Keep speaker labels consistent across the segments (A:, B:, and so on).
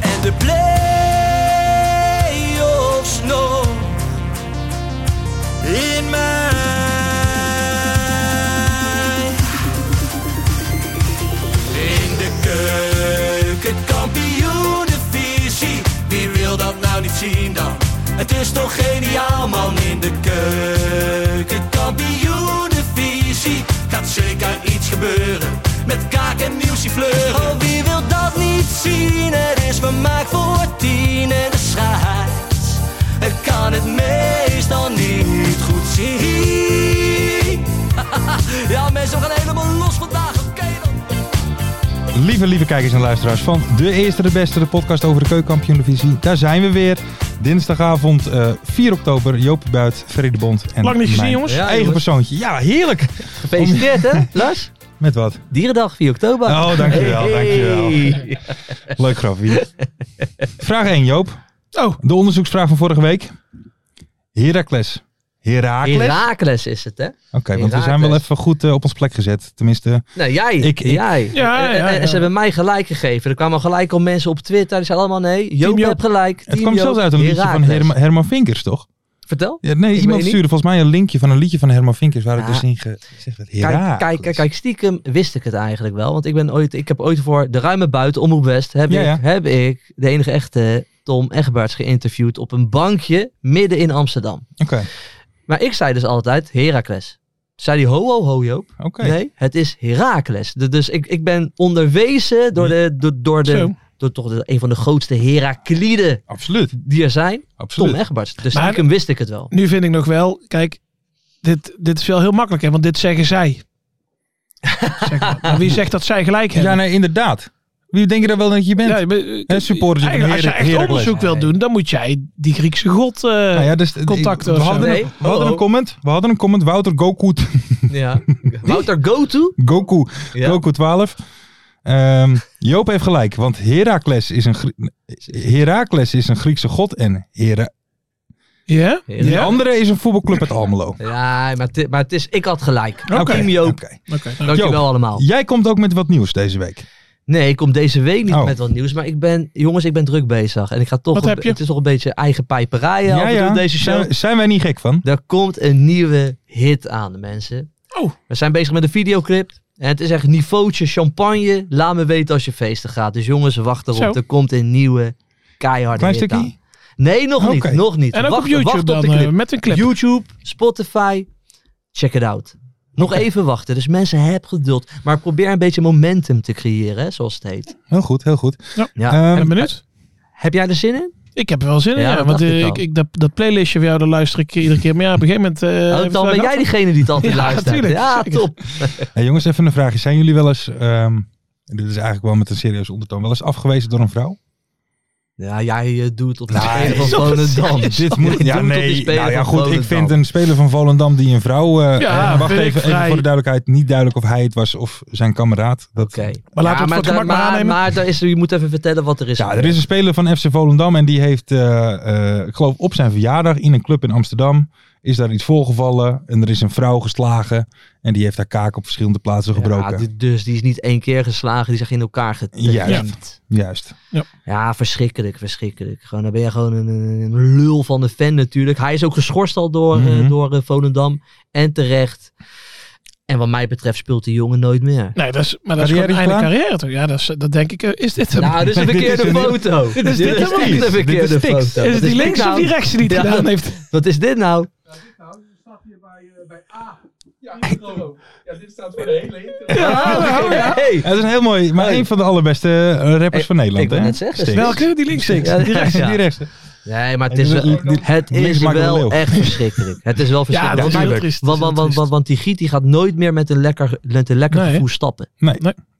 A: En de play-offs nog.
B: In mij.
A: In de keuken, kampioenenvisie. Wie wil dat nou niet zien dan? Het is toch geniaal man in de keuken, kampioenenvisie. Gaat zeker iets gebeuren met kaak en nieuwsie fleuren. Oh, wie wil dat niet zien? Het is vermaakt voor tien en de scheids. Het kan het meestal niet goed zien. ja mensen, we gaan helemaal los vandaag, oké dan.
C: Lieve, lieve kijkers en luisteraars van De Eerste de Beste, de podcast over de keukenkampioen-divisie. Daar zijn we weer. Dinsdagavond eh 4 oktober. Joopie Buit, Ferry de Bond en
D: Lang niet gezien,
C: mijn
D: jongens.
E: Ja,
C: eigen
E: jongens.
C: persoontje. Ja, heerlijk.
E: Gefeliciteerd, hè, Lars?
C: Met wat?
E: Dierendag, 4 oktober.
C: Oh, dankjewel, dankjewel.
E: Hey.
C: Leuk grafie. Vraag 1, Joop.
D: Oh.
C: De onderzoeksvraag van vorige week. Heracles. Herakles? Oké,
E: Herakles is het, hè?
C: want we zijn
E: Heracles.
C: wel even goed eh, op ons plek gezet. Tenminste,
E: Nou, jij.
C: Ik- ik-
E: jij.
D: Ja,
E: En- en-
D: ja,
E: en
D: ja.
E: ze hebben mij gelijk gegeven. Er kwamen gelijk al mensen op Twitter. Die zeiden allemaal nee. Joop,
D: Joop.
E: heb gelijk.
C: het
E: Team
C: kwam
E: Joop,
C: zelfs uit een liedje van
E: Heracles.
C: Herma- Herman Vinkers, toch?
E: Vertel.
C: Ja, nee,
E: weet
C: iemand
E: niet.
C: stuurde volgens mij een linkje van een liedje van Herman Vinkers waar ik
E: Ja.
C: dus in ge- gezegd werd.
E: Kijk,
C: Herakles.
E: kijk, kijk, kijk, stiekem wist ik het eigenlijk wel. Want ik, ben ooit, ik heb ooit voor de ruime buiten, Omroep West, heb,
C: Ja,
E: ik,
C: ja.
E: heb ik de enige echte Tom Egberts geïnterviewd op een bankje midden in Amsterdam.
C: Oké,
E: Maar ik zei dus altijd Herakles. Zei die ho ho ho Joop.
C: oké.
E: Nee, het is Herakles. De- Dus ik, ik ben onderwezen door, de, door, door, de,
D: Zo.
E: door toch de, een van de grootste Herakliden
C: Absoluut,
E: die er zijn.
C: absoluut.
E: Tom Egberts. Dus
D: Maar-
E: stiekem wist ik het wel.
D: Nu vind ik nog wel, kijk, dit, dit is wel heel makkelijk, hè, want dit zeggen zij. Zeg maar. Maar wie zegt dat zij gelijk hebben?
C: Ja, nee, inderdaad. Wie denk je dan wel dat je bent?
D: Ja, maar, eh,
C: Hè, supporters
D: eigenlijk, als je
C: Herak-
D: echt
C: Heracles.
D: onderzoek wil doen, dan moet jij die Griekse god... eh,
C: Nou ja, dus,
D: Contact
C: we,
D: of zo.
C: hadden,
E: Nee,
C: een, we hadden
E: oh.
C: een comment. We hadden een comment. Wouter Goku,
E: Ja. Wouter Go-To.
C: Goku,
E: Ja.
C: Goku 12. Ehm, Joop heeft gelijk, want Herakles is een, Grie- Herakles is een Griekse god en Hera,
D: Ja?
E: Ja.
C: die
D: Ja?
C: andere is een voetbalclub uit Almelo. Oké,
E: Ja, maar, het- maar het is, ik had gelijk.
C: Oké.
E: Team Joop.
D: Oké.
E: Dankjewel
C: Joop.
E: allemaal.
C: Jij komt ook met wat nieuws deze week.
E: Nee, ik kom deze week niet
C: Oh.
E: met wat nieuws. Maar ik ben, jongens, ik ben druk bezig. En ik ga toch,
D: Wat
E: een-
D: heb je?
E: het is toch een beetje eigen pijperij ja, deze show.
C: Zijn, zijn wij niet gek van?
E: Er komt een nieuwe hit aan, mensen.
D: Oh.
E: We zijn bezig met een videoclip. En het is echt niveautje champagne. Laat me weten als je feesten gaat. Dus jongens, wacht erop.
D: Zo.
E: Er komt een nieuwe keiharde
C: Klein
E: hit
C: stukje?
E: aan. Nee, nog niet.
C: Oké.
E: Nog niet.
D: En ook
E: wacht,
D: op YouTube
E: wacht op
D: dan,
E: de clip.
D: eh, met een clip.
E: YouTube, Spotify. Check it out. Nog even wachten. Dus mensen, heb geduld. Maar probeer een beetje momentum te creëren, hè, zoals het heet.
C: Heel goed, heel goed.
E: Ja.
C: Ehm,
D: ben benieuwd.
E: Heb jij er zin in?
D: Ik heb er wel zin in,
E: Ja,
D: ja,
E: dat
D: want
E: dacht
D: eh,
E: ik al.
D: ik, ik, dat, dat playlistje van jou, daar luister ik iedere keer. Maar ja, op een gegeven moment... eh,
E: Oh,
D: even
E: dan ben
D: terug
E: jij diegene die het altijd
D: Ja,
E: luistert.
D: tuurlijk,
E: ja,
D: zeker.
E: top.
C: Hey jongens, even een vraagje. Zijn jullie wel eens, ehm, dit is eigenlijk wel met een serieuze ondertoon, wel eens afgewezen door een vrouw?
E: Ja, jij eh, doet op de
C: Nee,
E: speler van
C: zo
E: Volendam.
C: Dit moet,
E: Doe
C: ja,
E: het op die
C: nee.
E: speler
C: Nou ja,
E: van
C: goed. Ik
E: Volendam.
C: vind een speler van Volendam die een vrouw. eh,
D: Ja,
C: eh, wacht
D: vind ik
C: even, even
D: vrij.
C: voor de duidelijkheid. Niet duidelijk of hij het was of zijn kameraad. Dat,
E: Oké.
D: Maar laten we het voor het
E: daar-
D: gemak maar aannemen.
E: Maar daar is, je moet even vertellen wat er is.
C: Ja, er is een speler van FC Volendam en die heeft, eh, eh, ik geloof, op zijn verjaardag in een club in Amsterdam. Is daar iets voorgevallen en er is een vrouw geslagen. En die heeft haar kaak op verschillende plaatsen gebroken.
E: Ja, di- dus die is niet één keer geslagen, die is echt in elkaar
C: Juist.
E: getemd.
C: Juist.
E: Ja, verschrikkelijk, verschrikkelijk. Gewoon, dan ben je gewoon een, een- een lul van de fan natuurlijk. Hij is ook geschorst al door, eh,
C: Mhm.
E: door eh, Volendam en terecht. En wat mij betreft speelt die jongen nooit meer.
D: Nee, dat is, maar dat is gewoon
C: Carrière
D: een einde
C: klaar?
D: carrière toch? Ja, dat, is, dat denk ik. eh, Is dit hem?
E: Nou, dit is een
C: Dit is
E: verkeerde
C: een-
E: foto. Dit
D: is- dit is
E: echt
D: niks.
E: een
D: Dit
C: is
E: verkeerde
C: niks.
E: foto.
D: is
E: Wat
D: het die
E: dit
D: links of
E: nou?
D: die rechts die het
E: Ja.
D: gedaan heeft?
E: Wat is dit nou? eh,
D: Ja,
E: Oh,
D: nou, ja.
E: Hey.
C: Ja, dat is een heel mooi, maar
E: Hey.
C: een van de allerbeste eh, rappers
E: Hey,
C: van Nederland.
E: ik wou
C: hè?
E: net zeggen,
C: Stix.
E: Stix.
D: Welke? Die links?
C: Stix.
E: Ja,
C: Die rechts,
E: ja.
C: die rechts.
E: Nee, maar het
C: Dit
E: is,
C: is
E: wel-
C: een- dit-
E: het
C: niks
E: is
C: maakt een leeuw.
E: wel echt verschrikkelijk. Het is wel
D: Ja,
E: verschrikkelijk.
D: dat is heel
C: tuurlijk.
D: triest.
E: Want, want, want, want, want die giet die gaat nooit meer met een lekker, met een lekker
D: Nee, hè?
E: gevoel stappen.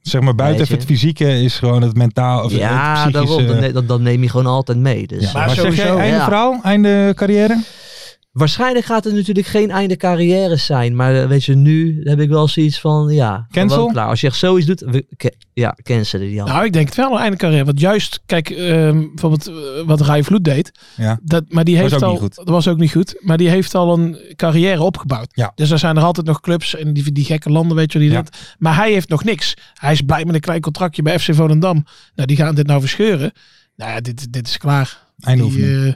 C: Zeg maar buiten
E: Weet je.
C: even het fysieke is gewoon het mentaal. Of
E: ja,
C: het psychische.
E: daarom. Dan, ne- dan, dan neem je gewoon altijd mee. Dus.
C: Ja.
D: eh, Maar
C: Maar, zeg jij
D: sowieso,
C: einde
E: ja.
C: verhaal? Einde carrière?
E: Waarschijnlijk gaat het natuurlijk geen einde carrière zijn. Maar eh, weet je, nu heb ik wel zoiets van, ja,
C: Cancel?
E: gewoon klaar. Als je echt zoiets doet, we- ke- ja, cancelen die al.
D: Nou, ik denk het wel aan einde carrière. Want juist, kijk, ehm, bijvoorbeeld eh, wat Rai Vloed deed.
C: Ja.
D: Dat, maar die
C: Was
D: heeft
C: ook
D: al,
C: niet goed.
D: Dat was ook niet goed. Maar die heeft al een carrière opgebouwd.
C: Ja.
D: Dus er zijn er altijd nog clubs in die, die gekke landen, weet je wel, die
C: Ja.
D: dat. Maar hij heeft nog niks. Hij is blij met een klein contractje bij FC Volendam. Nou, die gaan dit nou verscheuren. Nou ja, dit, dit is klaar.
C: Einde
D: Die,
C: oefening.
D: eh,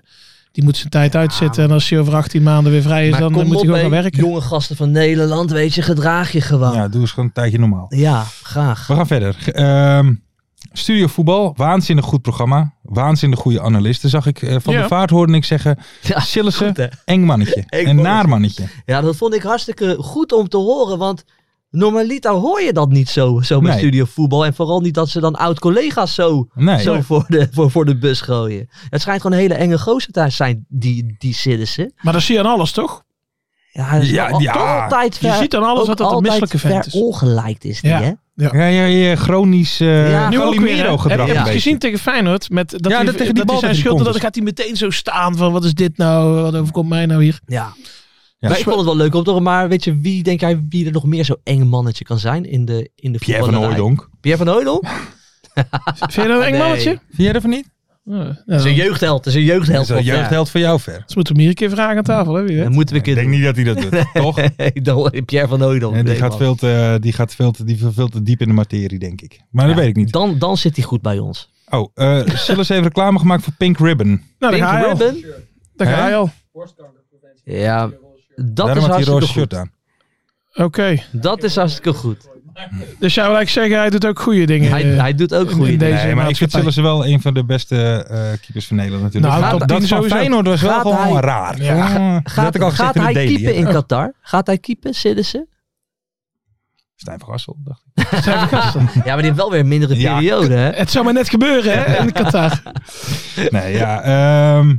D: die moet zijn tijd uitzitten. En als hij over 18 maanden weer vrij is,
E: maar
D: dan eh,
E: kom
D: moet hij
E: op,
D: gewoon gaan
E: hé,
D: werken.
E: jonge gasten van Nederland, weet je, gedraag je gewoon. Ja,
C: Ja, doe eens gewoon een tijdje normaal.
E: graag.
C: We gaan verder. Ge- ehm, Studio Voetbal, waanzinnig goed programma. Waanzinnig goede analisten, zag ik. eh, van
D: Ja.
C: de Vaart hoorde ik zeggen,
E: Ja,
C: Sillessen,
E: goed, hè?
C: eng mannetje. een
E: mannetje.
C: naar mannetje.
E: Ja, dat vond ik hartstikke goed om te horen, want normaliter hoor je dat niet zo, zo met
C: Nee.
E: studio voetbal. En vooral niet dat ze dan oud-collega's zo,
C: Nee,
E: zo voor, de, voor, voor de bus gooien. Het schijnt gewoon een hele enge gozer te zijn, die, die Siddissen.
D: Maar dat zie je aan alles, toch?
E: Ja, dat is
C: Ja,
E: al-
C: ja.
E: altijd
D: Je
E: ver,
D: ziet aan alles
E: ook
D: dat dat een
E: altijd
D: misselijke vent is.
E: verongelijkt is die,
D: Ja.
E: hè?
C: ja, ja, ja, chronisch eh
E: Ja.
D: Nu ook weer, hè?
C: Calimero
D: Heb
C: gedrag
D: je
C: een
D: het
C: beetje.
D: gezien tegen Feyenoord? Met, dat
C: Ja,
D: hij,
C: dat tegen die
D: dat hij
C: bal
D: zijn
C: tegen die
D: schuld,
C: kont
D: dan
C: is.
D: gaat hij meteen zo staan van wat is dit nou, wat overkomt mij nou hier?
E: Ja.
C: Ja.
E: Maar ik vond het wel leuk om te horen, maar weet je, wie denk jij wie er nog meer zo'n eng mannetje kan zijn in de, in de
C: Pierre van
E: voetballerij?
C: Hooijdonk.
E: Pierre van Hooydonk?
D: Vind je dat een eng
E: Nee.
D: mannetje?
C: Vind jij ervan niet?
D: Ja,
E: Dat is
D: ja.
E: een jeugdheld, dat is een
C: Dat
E: jeugdheld.
C: is een
E: toch? Ja.
C: jeugdheld voor jou ver.
D: Ze moeten hem hier een keer vragen aan tafel, hè? Wie weet.
E: Dan moeten we een
C: Ik
E: keer
C: denk
E: doen.
C: niet dat hij dat doet, toch?
E: Dan- eh, Pierre van Hooydonk.
C: Nee, die,
E: nee,
C: gaat
E: man.
C: veel te, die gaat veel te, die viel veel te diep in de materie, denk ik. Maar dat
E: Ja,
C: weet ik niet.
E: Dan, dan zit hij goed bij ons.
C: Oh, eh Sillis heeft reclame gemaakt voor Pink Ribbon.
D: Nou, daar
E: Pink
D: ga je al.
E: Ribbon?
D: Daar ga je
C: Hè?
D: al.
E: Ja, dat
C: Daarom
E: is
C: had hij
E: hartstikke
C: roze
E: goed.
C: shirt aan.
D: Oké.
E: Dat is hartstikke goed.
D: Dus jij wil eigenlijk zeggen, hij doet ook goede dingen.
E: Hij,
D: eh.
E: hij doet ook
D: in
E: goede
D: deze-
E: dingen.
C: Nee, maar ik vind
D: maatschappij.
C: Sillis wel een van de beste eh, keepers van Nederland natuurlijk.
D: Nou,
C: dat
D: top
C: dat
D: tien
C: van
D: sowieso.
C: Feyenoord was wel
E: Gaat
C: gewoon
E: hij-
C: raar.
D: Ja.
C: Oh, dat had
E: Gaat,
C: ik al gezegd
E: gaat
C: in de
E: hij
C: daily.
E: keepen
C: hè.
E: in Qatar? Gaat hij keepen, Siddissen?
C: Stijn van Gassel, dacht ik.
E: Ja, maar die heeft wel weer een mindere
C: Ja.
E: periode, hè?
D: Het zou maar net gebeuren, hè? In Qatar.
C: Nee, ja. ehm,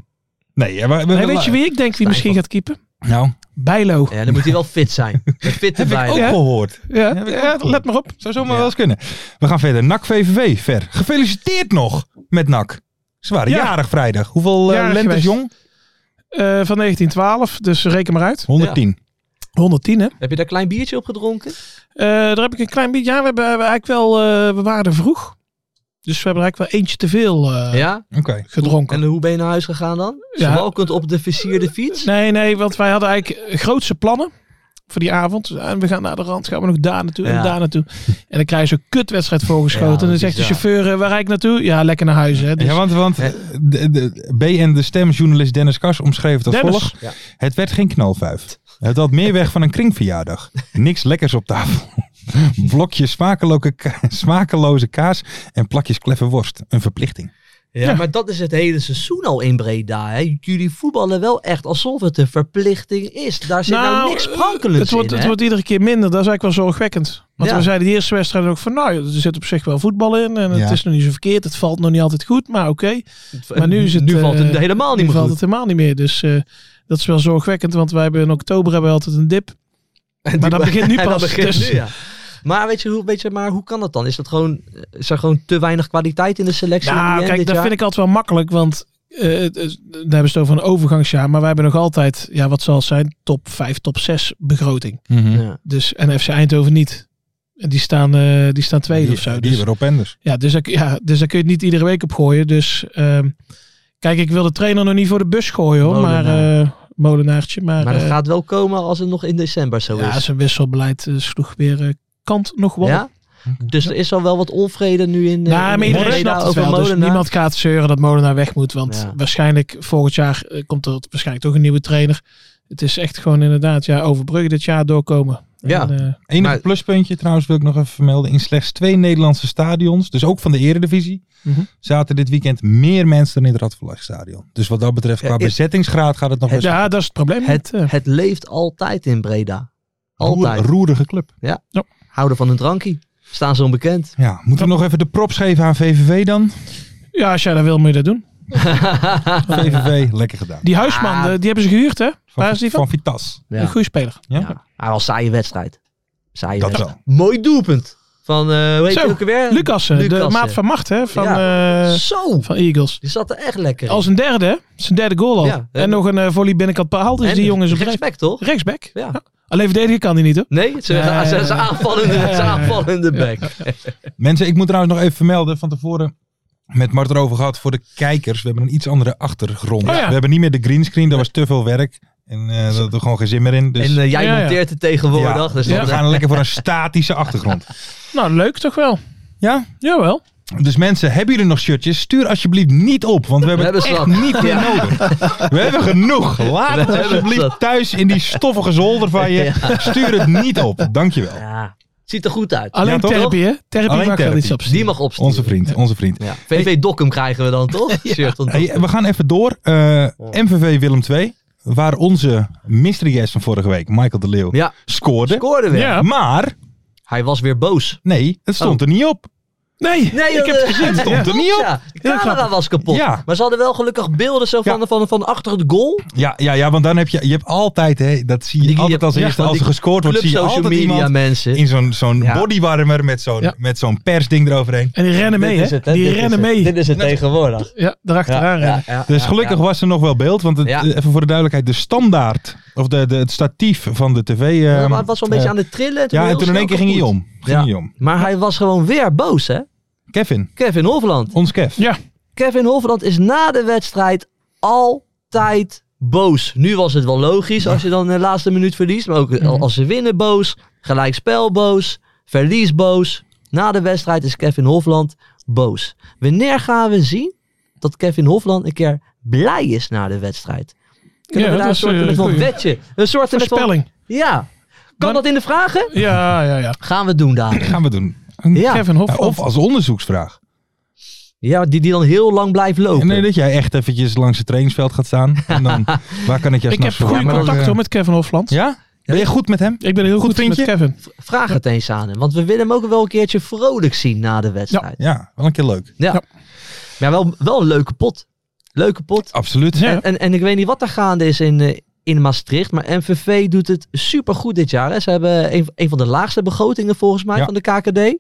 C: nee, ja, maar,
D: Nee, weet je wie ik denk wie misschien gaat keepen?
C: Nou,
D: Bijlo.
E: Ja, dan moet hij wel fit zijn. Een fitte
C: heb ik
E: bij.
C: ook
D: Ja.
C: gehoord.
D: Ja,
C: heb ik
D: ja,
C: ook
D: let maar op.
C: Zou zomaar
E: Ja.
C: wel eens kunnen. We gaan verder. NAC VVV, ver. Gefeliciteerd nog met NAC. Ze waren
D: Ja.
C: jarig vrijdag. Hoeveel eh
D: Jarig
C: lentes
D: geweest.
C: jong?
D: Eh, van 1912, dus reken maar uit.
C: 110.
D: 110, hè?
E: Heb je daar een klein biertje op gedronken?
D: Eh, daar heb ik een klein beetje. Ja, we, hebben, we, hebben eigenlijk wel, eh, we waren er vroeg. Dus we hebben er eigenlijk wel eentje te veel eh,
E: ja.
C: Oké.
D: gedronken.
E: En hoe ben je naar huis gegaan dan?
D: Ja.
E: Zwalkend op de versierde fiets?
D: Nee, nee, want wij hadden eigenlijk grootse plannen voor die avond. En we gaan naar de rand, gaan we nog daar naartoe
E: Ja.
D: en daar naartoe. En dan krijg je zo'n kutwedstrijd voorgeschoten.
E: Ja,
D: en dan
E: dat
D: zegt de
E: is ja.
D: chauffeur, eh, waar rijd ik naartoe? Ja, lekker naar huis. Hè. Dus,
C: Ja, want, want
E: Hè?
C: de, de, B en de stemjournalist Dennis Kars omschreef het als
D: Dennis.
C: volgt.
E: Ja.
C: Het werd geen knalvuif. Het had meer weg van een kringverjaardag. Niks lekkers op tafel. Blokjes smakeloze, ka- smakeloze kaas en plakjes kleffe worst. Een verplichting.
E: Ja,
D: Ja.
E: maar dat is het hele seizoen al in Breda. Hè. Jullie voetballen wel echt alsof het een verplichting is. Daar zit nou, niks
D: eh,
E: sprankelends
D: het wordt,
E: in.
D: Het
E: hè.
D: wordt iedere keer minder. Dat is eigenlijk wel zorgwekkend. Want
E: Ja.
D: we zeiden die eerste wedstrijd ook van, nou, er zit op zich wel voetbal in. En
C: Ja.
D: het is nog niet zo verkeerd. Het valt nog niet altijd goed, maar oké. Maar nu is het,
E: nu valt het
D: eh,
E: helemaal
D: Nu
E: niet meer
D: valt
E: goed.
D: het helemaal niet meer. Dus eh, dat is wel zorgwekkend, want wij hebben in oktober hebben we altijd een dip. Maar dat begint nu
E: En dat
D: pas.
E: begint
D: dus-
E: nu, ja. Maar weet je, hoe, weet je, maar hoe kan dat dan? Is dat gewoon, is er gewoon te weinig kwaliteit in de selectie? in
D: Nou,
E: die end
D: kijk,
E: dit
D: dat
E: jaar?
D: vind ik altijd wel makkelijk, want eh, het is- dan hebben ze het over een overgangsjaar. Maar wij hebben nog altijd, ja, wat zal het zijn, top 5, top 6 begroting.
E: Ja.
D: Dus, en FC Eindhoven niet. En die staan, eh, die staan tweede
C: Die,
D: of zo.
C: die
D: Dus,
C: hebben Rob Enders.
D: ja, dus, daar- ja, dus daar kun je het niet iedere week op gooien. Dus ehm, kijk, ik wil de trainer nog niet voor de bus gooien hoor. Maar,
E: Molenaar.
D: eh, molenaartje. Maar,
E: Maar dat
D: eh,
E: gaat wel komen als het nog in december zo
D: ja,
E: is.
D: zijn wisselbeleid eh, sloeg weer eh, kant nog wel.
E: Ja? Dus er is al wel wat onvrede nu in, eh,
D: Nou,
E: in
D: maar iedereen
E: Breda
D: snapt het
E: over
D: wel. Dus
E: Molenaar.
D: niemand gaat zeuren dat Molenaar weg moet. Want
E: Ja.
D: waarschijnlijk volgend jaar eh, komt er waarschijnlijk toch een nieuwe trainer. Het is echt gewoon inderdaad, ja, overbruggen dit jaar doorkomen.
E: Ja.
D: En, eh,
C: Enige
E: Maar-
C: pluspuntje trouwens wil ik nog even vermelden. In slechts twee Nederlandse stadions, dus ook van de Eredivisie,
D: Mhm.
C: zaten dit weekend meer mensen dan in het Radverlegstadion. Dus wat dat betreft,
E: Ja,
C: qua
E: is-
C: bezettingsgraad gaat het nog best
D: ja, dat is het probleem.
E: het,
D: niet, eh.
E: het leeft altijd in Breda. Altijd.
C: Roer- roerige club.
E: Houden van een drankie. Staan ze onbekend.
C: Ja, moeten we nog even de props geven aan VVV dan?
D: ja, als jij dat wil, moet je dat doen.
C: VVV, lekker gedaan.
D: Die huisman,
E: Ah.
D: eh, die hebben ze gehuurd, hè? Waar
C: Van,
D: Ah, is die
C: van
D: van?
C: Vitas.
E: Ja.
D: Een goede speler.
C: Ja?
E: Ja. Maar wel een saaie wedstrijd. Saaie
C: Dat
E: wedstrijd. Mooi doelpunt. Van, eh hoe heet
D: Zo,
E: hij ook alweer?
D: Lucassen, eh, de
E: Lucassen.
D: maat van macht, hè? Van, eh,
E: Zo.
D: van Eagles.
E: Die zat er echt lekker in.
D: Als een derde, hè? zijn derde goal al.
E: Ja, hè?
D: en nog een eh, volley binnenkant behaald, dus
E: En
D: die jongen is op rechts.
E: Respect, toch?
D: Rechtsback.
E: Ja.
D: Alleen verdedigen kan hij niet, hoor.
E: Nee, ze
D: Ja,
E: ze-
D: ja,
E: ze
D: ja.
E: aanvallende,
D: Ja, ja,
E: ze
D: ja.
E: aanvallende back.
C: Mensen, ik moet trouwens nog even vermelden van tevoren. Met Mart erover gehad voor de kijkers. We hebben een iets andere achtergrond.
D: Oh ja.
C: We hebben niet meer de greenscreen, dat was te veel werk. En eh daar hadden we gewoon geen zin meer in. Dus
E: En eh, jij
D: Ja, ja.
E: monteert het tegenwoordig.
C: ja,
E: dus
C: we
E: dan-
C: gaan lekker voor een statische achtergrond.
D: Nou, leuk toch wel.
C: Ja?
D: Jawel.
C: Dus mensen, hebben jullie nog shirtjes? Stuur alsjeblieft niet op, want we hebben
E: We
C: het echt
E: hebben
C: niet meer nodig. We hebben genoeg. Laat het
E: hebben
C: alsjeblieft
E: zat.
C: thuis in die stoffige zolder van je. Stuur het niet op. Dankjewel.
E: Ja, ziet er goed uit.
D: Alleen
C: Ja, toch?
D: therapie, hè? Therapie
C: Alleen
D: mag er
C: therapie.
D: iets op
E: Die mag opsturen.
C: Onze vriend, onze vriend.
E: Ja. VV Dokkum krijgen we dan toch? Shirt van Dokkum.
C: Hey, we gaan even door. Eh, MVV Willem II, waar onze mystery guest van vorige week, Michael de Leeuw,
E: Ja,
C: scoorde.
E: scoorde weer.
D: Ja.
C: Maar,
E: Hij was weer boos.
C: nee, het stond er niet op.
D: Nee,
E: Nee,
D: ik heb
E: eh,
D: het gezien.
E: het
C: stond
D: Ja.
C: er niet op.
E: Oh. Ja, de camera
D: grappig.
E: was kapot.
C: Ja.
E: Maar ze hadden wel gelukkig beelden zo van,
C: Ja.
E: van, van achter het goal.
C: Ja, ja, ja want dan heb je, je hebt altijd, hè, dat zie je
E: Die- die
C: altijd als
E: heb- ja,
C: eerste,
E: van
C: als er
E: die
C: gescoord wordt,
E: Club
C: zie je
E: social
C: altijd
E: media
C: iemand
E: mensen.
C: in zo'n zo'n
E: Ja.
C: bodywarmer met zo'n
D: Ja.
C: met zo'n persding eroverheen.
D: En die rennen mee,
E: Dit is
D: hè?
E: het, hè?
D: Die
E: Dit is
D: rennen
E: het.
D: mee.
E: Dit is het tegenwoordig.
D: Ja, erachteraan rennen.
C: Dus gelukkig was er nog wel beeld, want het,
E: Ja.
C: eh, even voor de duidelijkheid, de standaard, of de, de, het statief van de tv. eh,
E: Ja, maar het was wel een beetje aan het trillen.
C: ja, en
E: heel
C: toen in één keer
E: snel
C: ging hij
E: kapot.
C: om. Ging
E: Ja.
C: hij om.
E: Maar hij was gewoon weer boos, hè?
C: Kevin,
E: Kevin Hofland.
C: ons Kev.
D: Ja,
E: Kevin Hofland is na de wedstrijd altijd boos. Nu was het wel logisch als je dan de laatste minuut verliest. Maar ook eh,
D: Mhm.
E: als ze winnen boos, gelijkspel boos, verlies boos. Na de wedstrijd is Kevin Hofland boos. Wanneer gaan we zien dat Kevin Hofland een keer blij is na de wedstrijd? Kunnen
D: Ja,
E: we daar
D: dat
E: een
D: is,
E: soort
D: eh,
E: met van
D: goeie.
E: wetje? Een soort met van...
D: voorspelling.
E: Ja. Kan
D: Dan-
E: dat in de vragen?
D: Ja, ja, ja.
E: Gaan we doen, daar.
C: Gaan we doen. Een
E: Ja.
D: Kevin
C: Ja,
D: Hofland.
C: of als onderzoeksvraag.
E: Ja, die, die dan heel lang blijft lopen.
C: Nee, dat jij echt eventjes langs het trainingsveld gaat staan. En dan, waar kan ik jou
D: ik heb
C: s'nachts
D: goede
C: verwachten?
D: contact hoor, met Kevin Hofland.
C: Ja? Ben je goed met hem?
D: Ik ben heel
C: eh, Goed
D: goed, met
C: vriendje?
D: Kevin.
E: Vraag het eens aan hem. Want we willen hem ook wel een keertje vrolijk zien na de wedstrijd. Ja,
C: Ja, wel een keer leuk.
D: Ja.
E: Maar wel, wel een leuke pot. Leuke pot.
C: Absoluut. Eh,
D: Ja.
E: En, en, en ik weet niet wat er gaande is in, eh, in Maastricht. Maar MVV doet het supergoed dit jaar. Hè. Ze hebben een, een van de laagste begrotingen volgens mij
C: Ja.
E: van de KKD.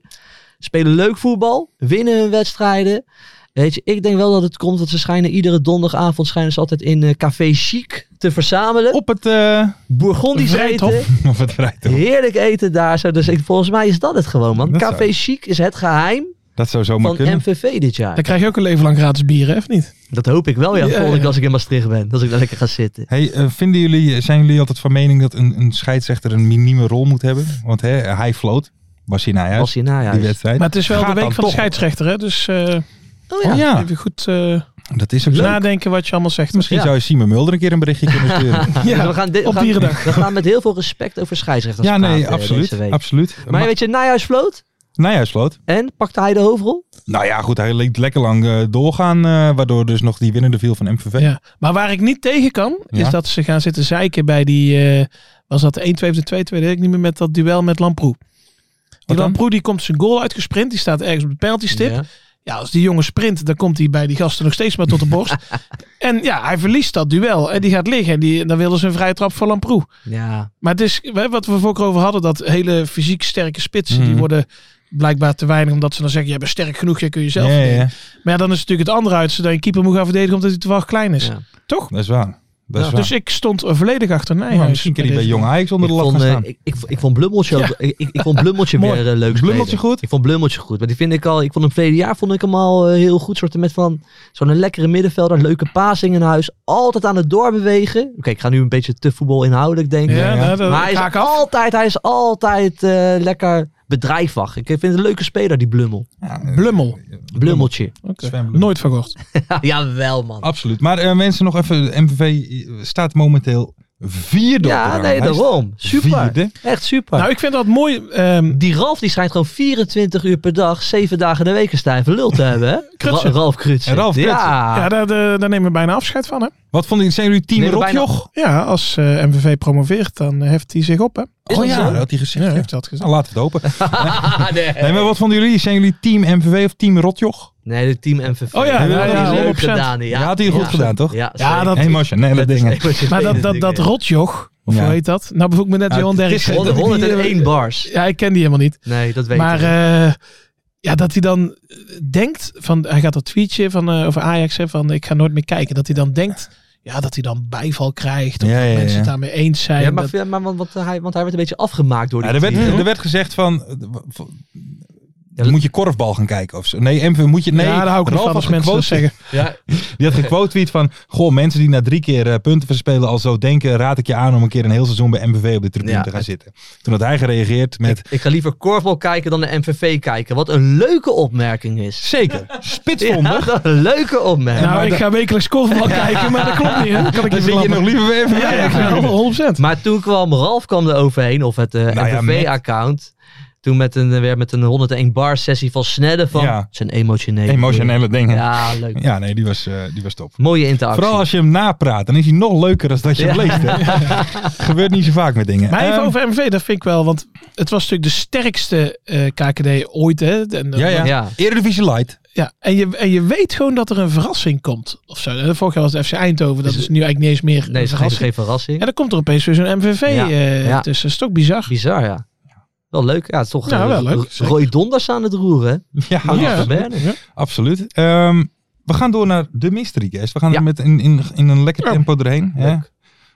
E: Spelen leuk voetbal. Winnen hun wedstrijden. Weet je, ik denk wel dat het komt. Want ze schijnen iedere donderdagavond schijnen ze altijd in eh, Café Chic te verzamelen.
C: Op het, eh
E: Bourgondisch
D: Vrijthof.
E: eten.
C: op het rijthof.
E: Heerlijk eten daar. Zo. Dus ik, volgens mij is dat het gewoon, man.
C: Dat
E: Café
C: zou-
E: Chic is het geheim
C: Dat zou zomaar
E: van
C: kunnen.
E: MVV dit jaar.
D: Dan krijg je ook een leven lang gratis bieren, hè, of niet?
E: Dat hoop ik wel, ja.
D: Ja,
E: volgende keer
D: ja.
E: als ik in Maastricht ben. Dat ik daar lekker ga zitten.
C: Hey, eh, vinden jullie, zijn jullie altijd van mening dat een, een scheidsrechter een minieme rol moet hebben? Want hè, hij floot. Was hij naar huis,
E: Als je najaar
C: die
E: is.
C: wedstrijd.
D: Maar het is wel
C: Gaat
D: de
C: dan
D: week van de
C: toch.
D: scheidsrechter, hè? Dus eh,
E: Oh
C: Ja.
E: ja.
D: even goed eh,
C: dat is ook zo.
D: nadenken wat je allemaal zegt.
C: Misschien
E: Ja.
C: zou je Simon Mulder een keer een berichtje kunnen sturen.
D: Ja,
E: Dus we gaan dit- we
D: op
E: gaan-
D: dierendag.
E: We gaan met heel veel respect over scheidsrechters
C: ja,
E: praten
C: nee,
E: eh,
C: absoluut.
E: deze week.
C: absoluut.
E: Maar weet je, najaarsvloot.
C: Nou ja, sloot.
E: En pakte hij de hoofdrol?
C: Nou ja, goed, hij liet lekker lang eh, doorgaan, eh, waardoor dus nog die winnende viel van MVV.
D: Ja. Maar waar ik niet tegen kan, is
C: Ja.
D: dat ze gaan zitten zeiken bij die... eh, was dat de 1-2 of de 2-2? Dat weet ik niet meer met dat duel met Lamproe. Die
C: dan?
D: Lamproe die komt zijn goal uitgesprint. Die staat ergens op de penaltystip.
E: Ja.
D: Ja. als die jongen sprint, dan komt hij bij die gasten nog steeds maar tot de borst. en ja, hij verliest dat duel. En die gaat liggen. En die, dan wilden ze een vrije trap voor Lamproe.
E: ja.
D: Maar het is, hè, wat we voorkeur over hadden, dat hele fysiek sterke spitsen,
C: Mhm.
D: die worden blijkbaar te weinig, omdat ze dan zeggen, jij bent sterk genoeg, jij kun jezelf
C: ja, ja,
D: verdedigen.
C: ja.
D: Maar ja, dan is het natuurlijk het andere uit, zodat je een keeper moet gaan verdedigen omdat hij te wel klein is.
E: Ja.
D: Toch?
C: Dat is waar. Dat is waar.
D: Dus ik stond volledig achter
C: Nou,
D: Nijhuis.
C: misschien kan hij bij
D: deze-
C: Jong Ajax
E: Ik
C: onder de lat
E: vond,
C: gaan
E: eh,
C: staan.
E: ik, ik, ik vond Blummeltje, ook- ik, ik, ik vond Blummeltje
C: Mooi.
E: weer eh, leuk spelen.
C: Blummeltje goed?
E: Ik vond Blummeltje goed. Maar die vind ik al, ik vond hem verleden jaar vond ik hem al eh, heel goed. Soorten met van zo'n lekkere middenvelder, leuke passing in huis. Altijd aan het doorbewegen. Oké, ik ga nu een beetje te voetbal inhoudelijk denken.
D: Ja,
C: Ja, ja.
D: nou, dat
E: Maar hij
D: ga
E: is,
D: ik af.
E: altijd, hij is altijd eh, lekker bedrijfwacht. Ik vind het een leuke speler, die Blummel.
C: Ja, eh,
D: Blummel.
E: Blummeltje.
D: Oké.
C: Sven Blummel.
D: Nooit verkocht.
E: Jawel,
D: Oh,
E: man.
C: Absoluut. Maar eh, mensen, nog even, MVV eh, staat momenteel vierde op de
E: ja, nee,
C: ranglijst.
E: daarom. Super.
C: Vierde.
E: Echt super.
C: Ah.
D: Nou, ik vind dat mooi. ehm,
E: die Ralf die schijnt gewoon 24 uur per dag, 7 dagen in de week een stijve lul te hebben. hè?
D: Krutsen.
E: Ra- Ralf Krutsen.
C: En Ralf Krutsen.
E: Ja. Ah,
D: ja, daar, daar, daar nemen we bijna afscheid van, hè?
C: Wat vonden jullie, zijn jullie team
E: Nee, maar
C: Rotjoch?
D: Ja, als eh, MVV promoveert, dan heft hij zich op, hè?
E: Is
C: oh
E: dat
C: ja,
E: zo?
C: dat had hij gezegd.
D: Ja,
C: ja.
D: heeft dat gezegd.
C: Nou, laat het open.
E: Ah, nee.
C: Nee, maar wat vonden jullie? Zijn jullie team MVV of team Rotjoch?
E: Nee, de team MVV.
D: Oh ja,
E: dat
D: ja, ja,
E: is leuk
D: 100%.
E: gedaan. Ja,
C: Ja, had hij goed gedaan, toch?
E: Ja,
D: Ja,
E: zeker.
D: dat-
C: Hé, Marcia, nee, dat
E: is
C: ding. hè.
E: een van je
D: Maar dat,
E: vele
D: dat, dat
E: dingen.
D: rotjoch, of
C: Ja.
D: hoe heet dat? Nou bezoek me net
C: Ja,
D: Johan
C: het is
D: Derksen.
C: geen-
D: Dat ik die,
E: 101
D: eh,
E: bars.
D: Ja, ik ken die helemaal niet.
E: Nee, dat weet
D: Maar
E: ik. niet.
D: eh, ja, dat hij dan eh, denkt, van, hij gaat dat tweetje van, eh, over Ajax, hè, van ik ga nooit meer kijken. Dat hij dan denkt, ja, dat hij dan bijval krijgt. Of
C: Ja,
D: dat
C: ja,
D: mensen
C: ja.
D: het daarmee eens zijn.
E: ja, maar,
D: dat-
E: ja, maar want, want hij, want hij werd een beetje afgemaakt door
C: Ja,
E: die
C: er, werd,
E: team.
C: er werd gezegd van... eh, v-
E: Ja, dat-
C: moet je korfbal gaan kijken of zo. Nee, MV moet je... Nee,
D: ja, daar hou ik
C: Ralf
D: nog van
C: had
D: als mensen dat
C: gequote-
D: zeggen.
E: Ja,
C: Die had gequote tweet van... Goh, mensen die na drie keer eh, punten verspelen al zo denken... raad ik je aan om een keer een heel seizoen bij MVV op de tribune
E: Ja,
C: te gaan
E: het-
C: zitten. Toen had hij gereageerd met...
E: ik ga liever korfbal kijken dan de MVV kijken. Wat een leuke opmerking is.
C: Zeker, spitsvondig.
E: Ja, dat een leuke opmerking.
D: nou,
C: maar
D: ik
C: dat-
D: ga wekelijks korfbal kijken, maar dat klopt niet. Hè? Dat Kan ik
C: Dan
D: je
C: zit je nog
D: verklappen.
C: liever bij MVV.
D: Ja, ik ga 100%.
E: Maar toen kwam Ralf kwam er overheen, of het eh,
C: Nou ja, met-
E: MVV-account. Toen met een, eh, weer met een 101 bar sessie van Snedden van
C: Ja.
E: zijn emotionele.
C: Emotionele dingen. Ja,
E: Ja, leuk.
C: nee, die was, eh, die was top.
E: Mooie interactie.
C: Vooral als je hem napraat, dan is hij nog leuker dan dat je hem
E: Ja.
C: leest. Hè? Gebeurt niet zo vaak met dingen.
D: Maar even
C: Ehm,
D: over MV, dat vind ik wel. Want het was natuurlijk de sterkste eh, KKD ooit. Hè? En,
C: ja, ja.
E: Ja.
C: Eredivisie Light.
D: Ja, en je, en je weet gewoon dat er een verrassing komt. Of zo. Eh, Vorig jaar was het FC Eindhoven. Dat
E: Is
D: is,
E: het-
D: nu eigenlijk niet eens meer
E: nee,
D: een
E: ze geven
D: verrassing.
E: geen verrassing.
D: En dan komt er opeens weer zo'n MVV
E: Ja,
D: eh,
E: ja.
D: tussen. Dat is toch bizar?
E: Bizar, ja. Wel leuk. Ja, het is toch
D: Ja,
E: eh,
D: wel leuk,
E: Ro-
D: zeker.
E: Roy Donders aan het roeren.
C: Ja,
E: hè?
D: Ja.
E: Van Berne.
C: absoluut. Ehm, we gaan door naar de mystery guest. We gaan
E: Ja.
C: er met in, in, in een lekker
D: Ja.
C: tempo doorheen. Hè?
E: Leuk.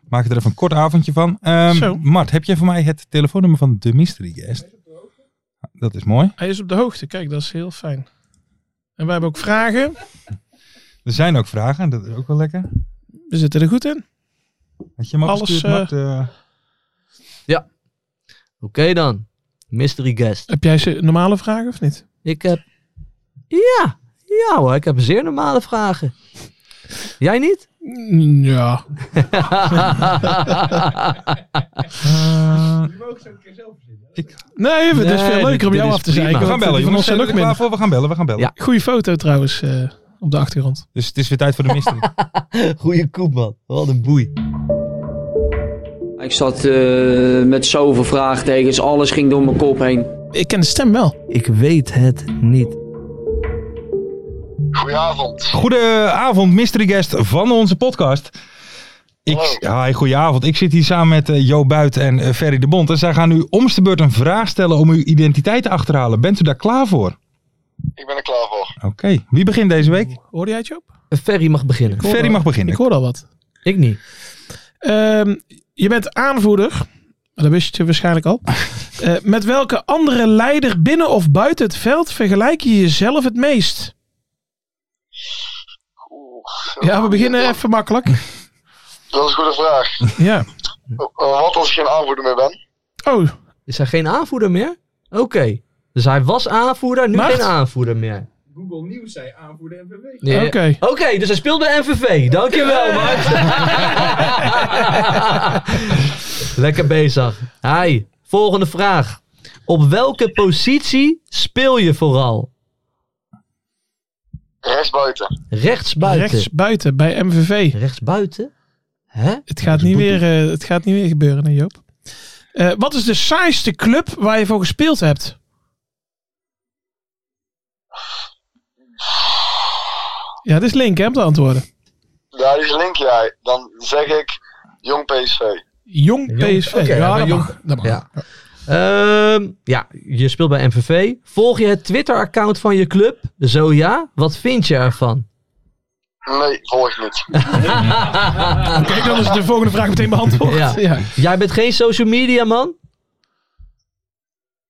C: Maak er even een kort avondje van. Ehm,
D: Zo.
C: Mart, heb jij voor mij het telefoonnummer van de mystery guest? Dat is mooi.
D: Hij is op de hoogte. Kijk, dat is heel fijn. En wij hebben ook vragen.
C: Er zijn ook vragen, dat is ook wel lekker.
D: We zitten er goed in.
C: Had je hem
D: Alles,
C: afgestuurd,
D: eh,
C: Mart? Eh,
E: Oké dan. Mystery guest.
D: Heb jij ze normale vragen of niet?
E: Ik heb... Ja. Ja hoor, ik heb zeer normale vragen. Jij niet?
D: Mm, Ja.
C: eh, ik,
D: Nee, dat is
E: Nee,
D: veel leuker om
E: dit
D: jou
E: is
D: af te
E: prima.
D: zeiken.
C: we gaan bellen,
D: want die Van
C: jongens.
D: ons
C: Zijn
D: zijn
C: jullie
D: ook
C: er klaar
D: minder.
C: voor? We gaan bellen, we gaan bellen.
E: Ja.
D: Goeie foto trouwens eh, op de achtergrond.
C: Dus het is weer tijd voor de mystery.
E: Goeie koep man. Wat een boei.
F: Ik zat eh, met zoveel vraagtekens, alles ging door mijn kop heen.
D: Ik ken de stem wel.
E: Ik weet het niet.
G: Goedenavond.
C: Goedenavond, mystery guest van onze podcast. Ik, hi, goedenavond. Ik zit hier samen met eh, Jo Buit en eh, Ferry de Bond. En zij gaan u om de beurt een vraag stellen om uw identiteit te achterhalen. Bent u daar klaar voor?
G: Ik ben er klaar voor.
C: Oké. Wie begint deze week?
D: Hoorde jij het, Joop?
E: Eh, Ferry mag beginnen.
D: hoor
C: Ferry
D: wel.
C: mag
D: Ik
C: beginnen.
D: hoorde al wat.
E: Ik niet.
D: Ehm, je bent aanvoerder. Maar Dat wist je waarschijnlijk al. Eh, met welke andere leider binnen of buiten het veld vergelijk je jezelf het meest? Ja, we beginnen even makkelijk.
G: Dat is een goede vraag.
D: Ja.
G: Eh, Wat als ik geen aanvoerder meer ben?
D: Oh,
E: Is hij geen aanvoerder meer? Oké. Dus hij was aanvoerder, nu
D: Macht?
E: geen aanvoerder meer. Google Nieuws zei aanvoerder
D: oké.
E: MVV. Oké, dus hij speelt bij MVV. Dankjewel, Mart. Lekker bezig. Hi, volgende vraag. Op welke positie speel je vooral?
G: Rechtsbuiten.
E: Rechtsbuiten.
D: Rechts buiten bij MVV.
E: Rechtsbuiten? Hè?
D: Het gaat, niet weer, eh, het gaat niet weer gebeuren, hè Joop? Eh, wat is de saaiste club waar je voor gespeeld hebt? Ja, dit is link hè, om te antwoorden.
G: Daar is link jij. Dan zeg ik jong PSV.
D: Jong
E: Jong-
D: PSV.
E: oké,
D: ja,
E: maar
D: dat
E: Jong-
D: mag. Dat mag.
E: Ja. Ehm, ja, je speelt bij MVV. Volg je het Twitter-account van je club? Zo ja, wat vind je ervan?
G: Nee, volg ik niet.
D: Kijk, dan is de volgende vraag meteen beantwoord.
E: Ja.
D: Ja.
E: Jij bent geen social media man?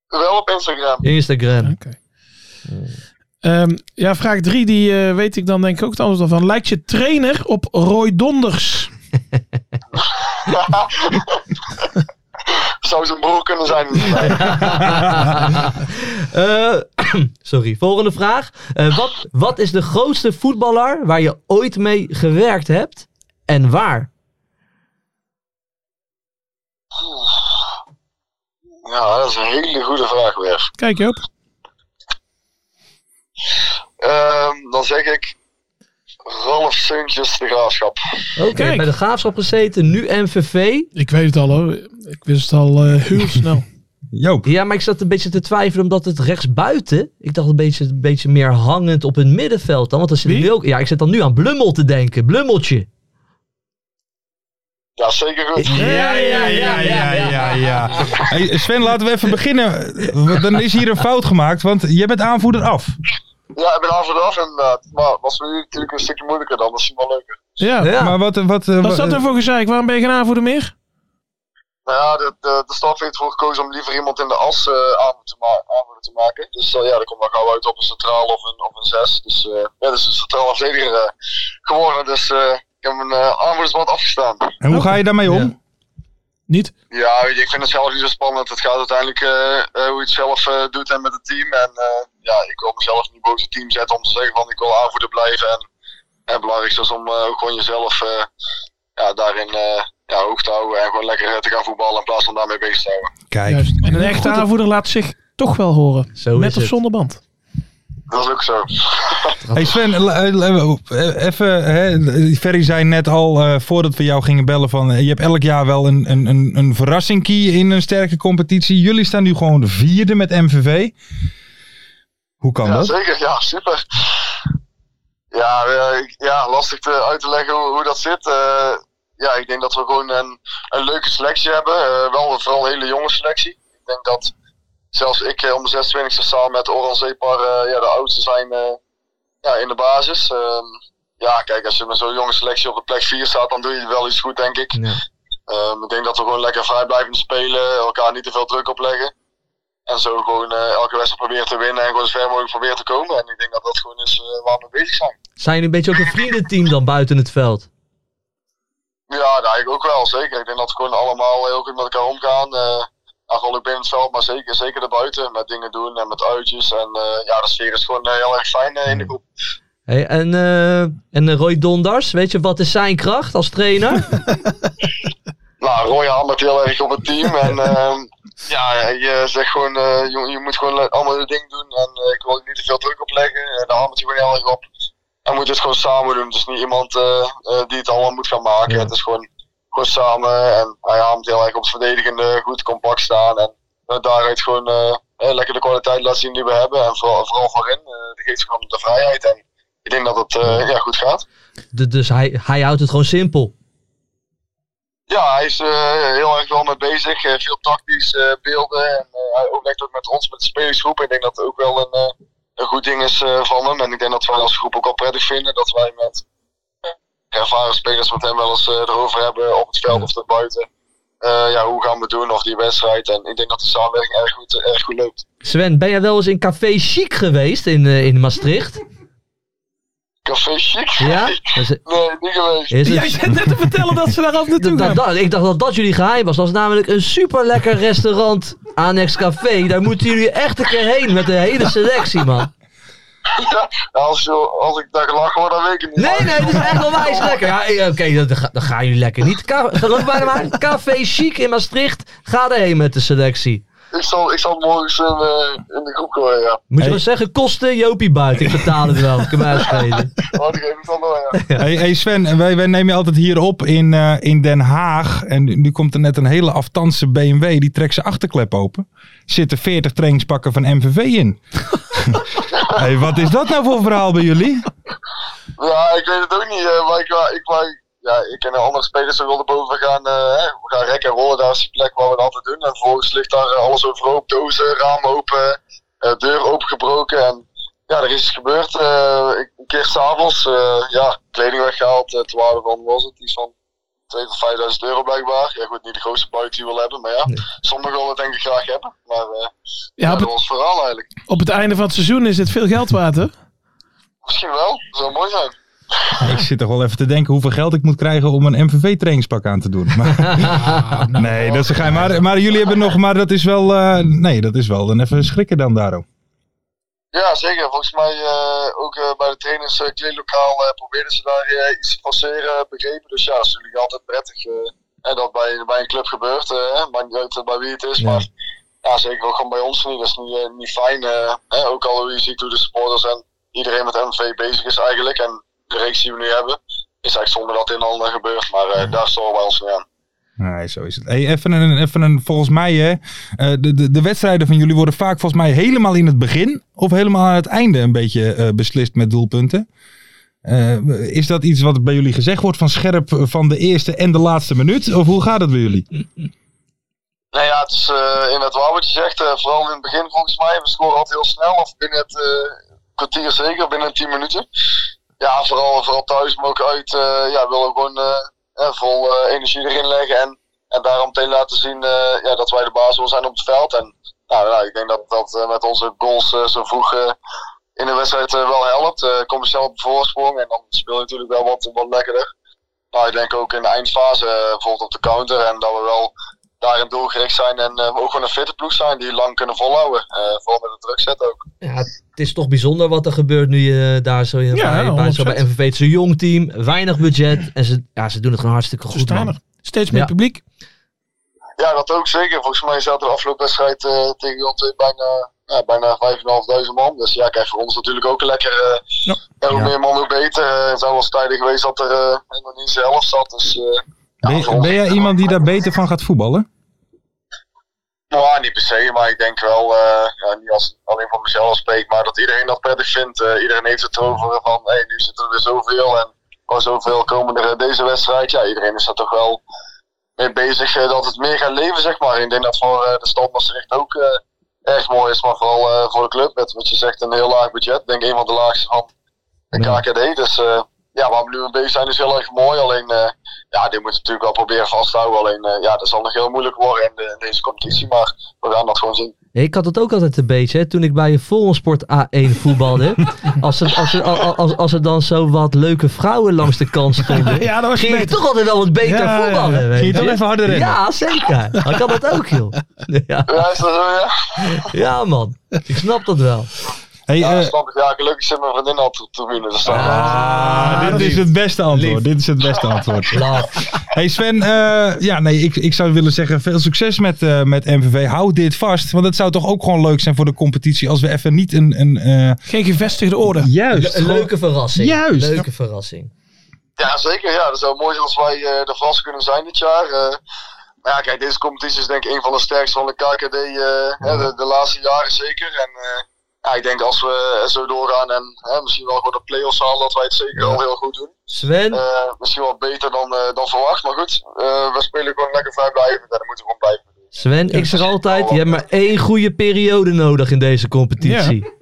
G: Wel op Instagram.
E: Instagram.
D: Ehm, ja, vraag 3, die eh, weet ik dan denk ik ook het antwoord al van. Lijkt je trainer op Roy Donders?
G: Zou zijn broer kunnen zijn. Nee.
E: Eh, sorry, volgende vraag. Eh, wat, wat is de grootste voetballer waar je ooit mee gewerkt hebt? En waar?
G: Ja, dat is een hele goede vraag weer.
D: Kijk Joop.
G: Ehm, dan zeg ik Ralf Suntjes de Graafschap.
E: Oké,
D: Kijk.
E: bij de graafschap gezeten, nu MVV.
D: Ik weet het al hoor. Ik wist het al eh, heel snel.
C: Joop.
E: Ja, maar ik zat een beetje te twijfelen omdat het rechtsbuiten. Ik dacht een beetje, een beetje meer hangend op het middenveld dan. Want er zit
D: Wie?
E: nu ook- ja, ik zit dan nu aan Blummel te denken. Blummeltje.
G: Ja, zeker goed.
E: Ja, ja, ja, ja,
C: ja, ja. Hey, Sven, laten we even beginnen. Want Dan is hier een fout gemaakt, want jij bent aanvoerder af.
G: Ja, ik ben aan voor de af inderdaad. Maar was nu natuurlijk een stukje moeilijker dan, dat is wel leuker.
D: Ja.
E: Ja.
C: Maar wat... Wat, eh,
D: Wat
C: wat-
D: zat er voor gezeik? Waarom ben je geen aanvoerder meer?
G: Nou ja, de, de, de staf heeft ervoor gekozen om liever iemand in de as eh aan te, ma- aanvoerder te maken. Dus eh, ja, dat komt dan gauw uit op een centraal of een, op een zes. Dus eh ja, dat is een centraal verdediger eh, geworden. Dus eh, ik heb mijn eh aanvoerdersband afgestaan.
C: en hoe ga je daarmee om?
D: Niet?
G: Ja, weet je, ik vind het zelf niet zo spannend. Het gaat uiteindelijk eh, eh, hoe je het zelf eh, doet en met het team. En eh, ja, ik wil mezelf niet boven het team zetten om te zeggen van ik wil aanvoerder blijven. En en het belangrijkste is om eh, ook gewoon jezelf eh, ja, daarin eh, ja, hoog te houden. En gewoon lekker eh, te gaan voetballen in plaats van daarmee bezig te houden.
C: Kijk.
D: Juist. En een echte
C: Goed,
D: aanvoerder laat zich toch wel horen.
E: Zo
D: Met
E: is
D: of
E: het.
D: zonder band.
G: Dat is ook zo.
C: Hey Sven, l- l- eh, even, hè, Ferry zei net al eh, voordat we jou gingen bellen van eh, je hebt elk jaar wel een, een, een, een verrassing key in een sterke competitie. Jullie staan nu gewoon de vierde met MVV. Hoe kan
G: Ja,
C: dat?
G: zeker. Ja, super. Ja, eh, ik- ja lastig te uit te leggen hoe, hoe dat zit. Eh, ja, ik denk dat we gewoon een, een leuke selectie hebben. Eh, wel vooral een hele jonge selectie. Ik denk dat zelfs ik eh, om de 26e samen met Oran Zepar eh, ja, de oudste zijn eh, ja, in de basis. Ehm, ja, kijk, als je met zo'n jonge selectie op de plek 4 staat, dan doe je wel iets goed, denk ik.
E: Ja.
G: Ehm, ik denk dat we gewoon lekker vrij blijven spelen, elkaar niet te veel druk opleggen. En zo gewoon eh, elke wedstrijd proberen te winnen en gewoon zo ver mogelijk proberen te komen. En ik denk dat dat gewoon is eh, waar we mee bezig zijn.
E: Zijn jullie een beetje ook een vriendenteam dan buiten het veld?
G: Ja, nou, ik ook wel, zeker. Ik denk dat we gewoon allemaal heel goed met elkaar omgaan. eh nou, gewoon ook binnen het veld, maar zeker, zeker erbuiten. Met dingen doen en met uitjes. En eh, ja, de sfeer is gewoon eh, heel erg fijn eh, in de groep.
E: Hey, en, eh, en eh, Roy Donders, weet je wat is zijn kracht als trainer?
G: Nou, Roy hamert heel erg op het team. En ehm, ja, je zegt gewoon, eh, je, je moet gewoon le- allemaal je ding doen. En eh, ik wil er niet te veel druk op leggen. En daar hamert je gewoon heel erg op. En moet je het gewoon samen doen. Het is niet iemand eh, eh, die het allemaal moet gaan maken.
E: Ja.
G: Het is gewoon, gewoon samen. En hij hamert heel erg op het verdedigende, goed compact staan. En eh, daaruit gewoon eh, eh, lekker de kwaliteit laten zien die we hebben. En vooral, vooral voorin. eh die geeft gewoon de vrijheid. En ik denk dat het eh, ja, goed gaat.
E: De- dus hij, hij houdt het gewoon simpel.
G: Ja, hij is eh, heel erg wel mee bezig. Eh, veel tactisch eh, beelden. En eh, hij overlegt ook met ons, met de spelersgroep. Ik denk dat het ook wel een, eh, een goed ding is eh, van hem. En ik denk dat wij als groep ook wel prettig vinden dat wij met eh, ervaren spelers met hem wel eens eh, erover hebben op het veld of daarbuiten. Eh, ja, hoe gaan we het doen of die wedstrijd. En ik denk dat de samenwerking erg goed, eh, erg goed loopt.
E: Sven, ben jij wel eens in Café Chic geweest in, eh, in Maastricht?
G: Café Chic?
E: Ja? Dat is-
G: Nee, niet geweest.
E: is het-
D: Jij zit net te vertellen dat ze daar af naartoe
E: Dat-
D: gaan.
E: dat- ik dacht dat dat jullie geheim was. Dat is namelijk een super lekker restaurant, Annex Café. Daar moeten jullie echt een keer heen met de hele selectie, man.
G: Nou, als, je- als ik daar gelachen word, dan weet ik het niet.
E: Nee,
G: Maar-
E: nee, het is echt onwijs lekker. Ja, eh, Oké, dan, dan ga- dan gaan jullie lekker niet. Ka- Geloof mij maar, Café Chic in Maastricht. Ga erheen met de selectie.
G: Ik zal, ik zal morgens in, eh, in de groep gooien, ja.
E: Moet je
C: Hey.
E: wel zeggen, kosten Jopie buiten. Ik betaal het wel, ik kan mij uitschelen.
G: Maar die geef ik dan door, ja.
C: Hey, hey Sven, wij, wij nemen je altijd hier op in, eh, in Den Haag. En nu nu komt er net een hele aftandse BMW, die trekt zijn achterklep open. Zitten 40 trainingspakken van MVV in. hey, wat is dat nou voor verhaal bij jullie?
G: Ja, ik weet het ook niet. eh, maar ik, wou- ik, wou- ja, ik ken andere spelers die wilden boven gaan. eh, hè, we gaan rekken en rollen, daar is die plek waar we het altijd doen. En vervolgens ligt daar eh, alles overhoop. Dozen, ramen open, eh, deur opengebroken. En ja, er is iets gebeurd. eh, ik- een keer s'avonds, eh ja, kleding weggehaald. eh, te waarde van, was het? Iets van 2.000 tot 5.000 euro blijkbaar. Ja goed, niet de grootste buit die je wil hebben. Maar ja, sommigen willen het denk ik graag hebben. Maar eh, ja,
D: Ja, op
G: dat
D: het,
G: was het verhaal eigenlijk.
D: op het einde van het seizoen is dit veel geld waard, hè?
G: Misschien wel, dat zou mooi zijn.
C: Ik zit toch wel even te denken hoeveel geld ik moet krijgen om een MVV-trainingspak aan te doen. Maar, nee, dat is een gein. Maar, maar jullie hebben nog, maar dat is wel, eh, nee, dat is wel dan even schrikken dan daarom.
G: Ja, zeker. Volgens mij eh, ook eh, bij de trainers eh, kleedlokaal eh, probeerden ze daar eh, iets te forceren, eh, begrepen. Dus ja, dat is natuurlijk altijd prettig eh, hè, dat bij, bij een club gebeurt. eh, hè. maakt niet uit eh, bij wie het is, maar ja, zeker ook gewoon bij ons niet. Dat is niet, eh, niet fijn. eh, hè. ook al hoe je ziet hoe de supporters en iedereen met MV bezig is eigenlijk. En de reeks die we nu hebben, is eigenlijk zonder dat in handen gebeurd. Maar eh, daar storen wij ons mee aan.
C: Nee, zo is het. Hey, even, een, even een, volgens mij, hè, eh, de, de, de wedstrijden van jullie worden vaak volgens mij helemaal in het begin of helemaal aan het einde een beetje eh, beslist met doelpunten. Eh, is dat iets wat bij jullie gezegd wordt van scherp van de eerste en de laatste minuut? Of hoe gaat het bij jullie?
G: Nou ja, het is eh, inderdaad waar wat je zegt. eh, vooral in het begin volgens mij. We scoren altijd heel snel. Of binnen het eh, kwartier zeker, binnen 10 minuten. Ja, vooral, vooral thuis, maar ook uit. eh, ja, willen we gewoon eh, eh, vol eh, energie erin leggen. En, en daarom meteen laten zien eh, ja, dat wij de baas willen zijn op het veld. En nou, ja, ik denk dat dat eh, met onze goals eh, zo vroeg eh, in de wedstrijd eh, wel helpt. Eh kom je snel op de voorsprong en dan speel je natuurlijk wel wat, wat lekkerder. Maar ik denk ook in de eindfase, eh, bijvoorbeeld op de counter. En dat we wel daarin doelgericht zijn en eh, ook gewoon een fitte ploeg zijn die lang kunnen volhouden. Eh, vooral met de druk zetten ook.
E: Ja, het is toch bijzonder wat er gebeurt nu je daar zo, in
D: Ja,
E: bij, bij, zo bij
D: 100%.
E: MVV. Het is een jong team, weinig budget. En ze, ja, ze doen het gewoon hartstikke
D: Ze
E: goed.
D: staan
E: man.
D: er. Steeds meer
E: Ja.
D: publiek.
G: Ja, dat ook zeker. Volgens mij zat er afgelopen wedstrijd eh, tegen Jon twee bijna, ja, bijna 5.500 man. Dus ja, kijk, voor ons natuurlijk ook een lekker. eh, en hoe
C: Ja.
G: meer man, hoe beter. Eh, het zou wel eens tijden geweest dat er eh, helemaal niet zelf zat. Dus, eh, ja,
C: Ben,
G: voor
C: je-
G: ons-
C: ben jij iemand die daar beter van gaat voetballen?
G: Nou, niet per se, maar ik denk wel, eh, ja, niet als alleen van mezelf spreek, maar dat iedereen dat prettig vindt. Eh, iedereen heeft het erover van, hé, nu zitten er weer zoveel en oh, zoveel komen er eh, deze wedstrijd. Ja, iedereen is er toch wel mee bezig eh, dat het meer gaat leven, zeg maar. Ik denk dat voor eh, de stad Maastricht ook eh, erg mooi is, maar vooral eh, voor de club. Met wat je zegt, een heel laag budget. Ik denk een van de laagste van de
C: Ja.
G: KKD. Dus eh, ja, waar we nu mee bezig zijn is heel erg mooi. Alleen, eh, ja, dit moet je natuurlijk wel proberen vast te houden. Alleen, eh, ja, dat zal nog heel moeilijk worden in, de- in deze competitie. Maar we gaan dat gewoon zien.
E: Ik had het ook altijd een beetje, hè, toen ik bij een Sport A1 voetbalde. als, er, als, er, als, als er dan zo wat leuke vrouwen langs de kant stonden.
D: Ja, dat was
E: ging ik
D: beter.
E: toch altijd wel wat beter
D: Ja, ja,
E: voetballen.
D: ja.
E: weet
C: Ging je toch
E: je.
C: even harder rennen?
E: Ja, zeker. Ik had dat ook, joh. Ja,
G: Ja, is dat zo, ja?
E: ja, man. Ik snap dat wel.
C: Hey,
G: Ja,
C: eh,
G: snap ik. Ja, gelukkig zit mijn vriendin al op de tribune. Dus dan,
C: ah, dit is het beste antwoord. Dit is het beste antwoord.
E: Love.
C: Hey Sven, eh, ja, nee, ik, ik zou willen zeggen veel succes met, eh, met MVV. Houd dit vast, want het zou toch ook gewoon leuk zijn voor de competitie als we even niet een... een eh,
D: Geen gevestigde orde.
C: juist.
E: Le- leuke verrassing.
C: Juist.
E: Leuke verrassing.
G: Ja, zeker. Ja, dat zou mooi zijn als wij eh er vast kunnen zijn dit jaar. Eh, maar ja, kijk, deze competitie is denk ik een van de sterkste van de KKD eh, hè, de, de laatste jaren zeker. En eh, ja, ik denk als we eh, zo doorgaan en hè, misschien wel gewoon de play-offs halen, dat wij het zeker al heel goed doen.
E: Sven,
G: Eh, misschien wel beter dan, eh, dan verwacht, maar goed. eh, we spelen gewoon lekker vrijblijvend en dat moeten we gewoon blijven doen.
E: Sven, ik zeg altijd, je hebt maar één goede periode nodig in deze competitie.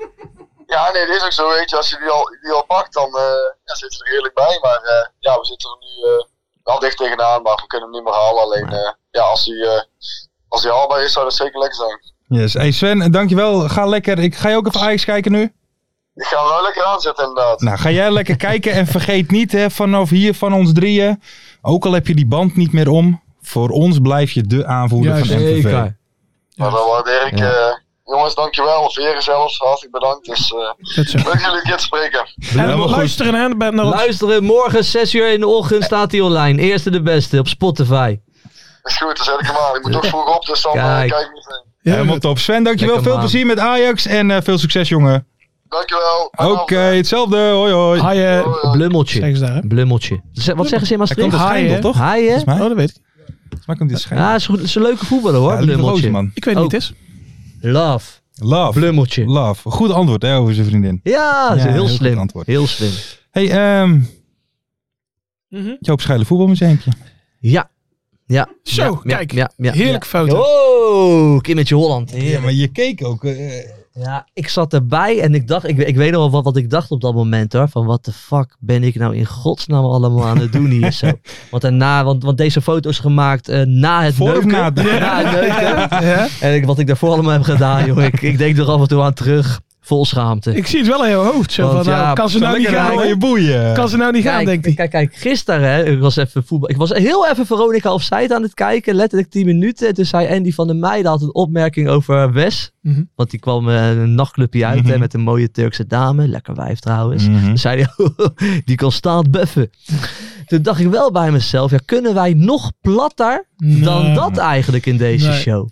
G: Ja, nee, dat is ook zo, weet je. Als je die al, die al pakt, dan eh, ja, zit ze er eerlijk bij. Maar eh, ja, we zitten er nu eh, wel dicht tegenaan, maar we kunnen hem niet meer halen. Alleen, eh, ja, als hij, eh, als hij haalbaar is, zou dat zeker lekker zijn.
C: Yes. Hey Sven, dankjewel. Ga lekker. Ik ga je ook even Ajax kijken nu.
G: Ik ga hem wel lekker aanzetten, inderdaad.
C: Nou, ga jij lekker kijken en vergeet niet hè, vanaf hier van ons drieën. Ook al heb je die band niet meer om, voor ons blijf je de aanvoerder van MVV.
E: Zeker.
G: Maar dan waardeer ik. eh, jongens, dankjewel. Of heren zelfs, hartelijk bedankt. Dus, eh,
D: Dat zo.
G: leuk jullie een keer te spreken.
D: En
C: Helemaal goed.
D: luisteren hè, bij- naar ons.
E: Luisteren, morgen 6 uur in de ochtend staat hij online. Eerste de beste op Spotify.
G: Is goed, dan zet ik hem aan. Ik moet toch vroeg op, dus dan eh,
E: Kijk.
G: kijk ik niet mee.
D: Ja,
C: Helemaal top. Sven, dankjewel.
E: Lekker
C: veel
E: man.
C: plezier met Ajax en eh, veel succes jongen.
G: Dankjewel.
C: Oké, hetzelfde. Hoi hoi.
D: Hi, eh,
G: Hoi, hoi.
E: Blummeltje.
D: zeggen ze daar, hè?
E: Blummeltje. Ze- Wat zeggen ze in
C: Hij komt
E: Maastricht?
C: uit
D: Hi,
C: Schijndel,
D: hè?
C: toch?
E: Hi, hè?
C: Volgens mij.
D: Oh, dat weet ik.
C: Volgens mij komt hij uit Schijndel.
E: Ja, is, goed, is een leuke voetballer hoor,
C: Ja, lieve
E: Blummeltje.
C: gozer, man.
D: Ik weet niet
E: Oh.
D: wie het is.
E: Love.
C: Love.
E: Blummeltje.
C: Love. Goed antwoord hè, over zijn vriendin.
E: Ja, dat is
C: Ja, heel
E: heel
C: goed
E: slim.
C: antwoord.
E: Heel slim.
C: Hey, ehm
D: Mhm.
C: Joop Schijlen voetbalmuseumpje.
E: Ja. Ja.
D: Zo,
E: Ja, ja,
D: kijk.
E: ja, ja,
D: Heerlijk
E: ja.
D: foto.
E: Oh, Kimmetje Holland.
C: Ja,
E: Heerlijk.
C: maar je keek ook. eh,
E: Ja, ik zat erbij en ik dacht, ik, ik weet nog wel wat, wat ik dacht op dat moment hoor. Van wat de fuck ben ik nou in godsnaam allemaal aan het doen hier zo. Want daarna, want, want deze foto is gemaakt eh, na het
C: Voor of
E: neuken.
C: na het neuken?
E: het neuken. En ik, wat ik daarvoor allemaal heb gedaan joh, ik, ik denk er af en toe aan terug. Vol schaamte.
D: Ik zie het wel in je hoofd. Zo,
E: Want
D: van, nou,
E: ja,
D: kan ze nou niet gaan?
C: oh, je
D: hoor.
C: boeien.
D: Kan ze nou niet gaan, denkt
E: Kijk,
D: hij.
E: kijk, kijk, gisteren, hè, ik was even voetbal. Ik was heel even Veronica Offside aan het kijken, letterlijk 10 minuten. En Toen zei Andy van der Meijden had een opmerking over Wes.
D: Mhm.
E: Want die kwam eh, een nachtclubje uit hè,
C: Mhm.
E: met een mooie Turkse dame. Lekker wijf trouwens.
C: Mhm.
E: Toen zei hij, die kan staand buffen. Toen dacht ik wel bij mezelf, ja, kunnen wij nog platter dan
D: Nee.
E: dat eigenlijk in deze
D: Nee.
E: show?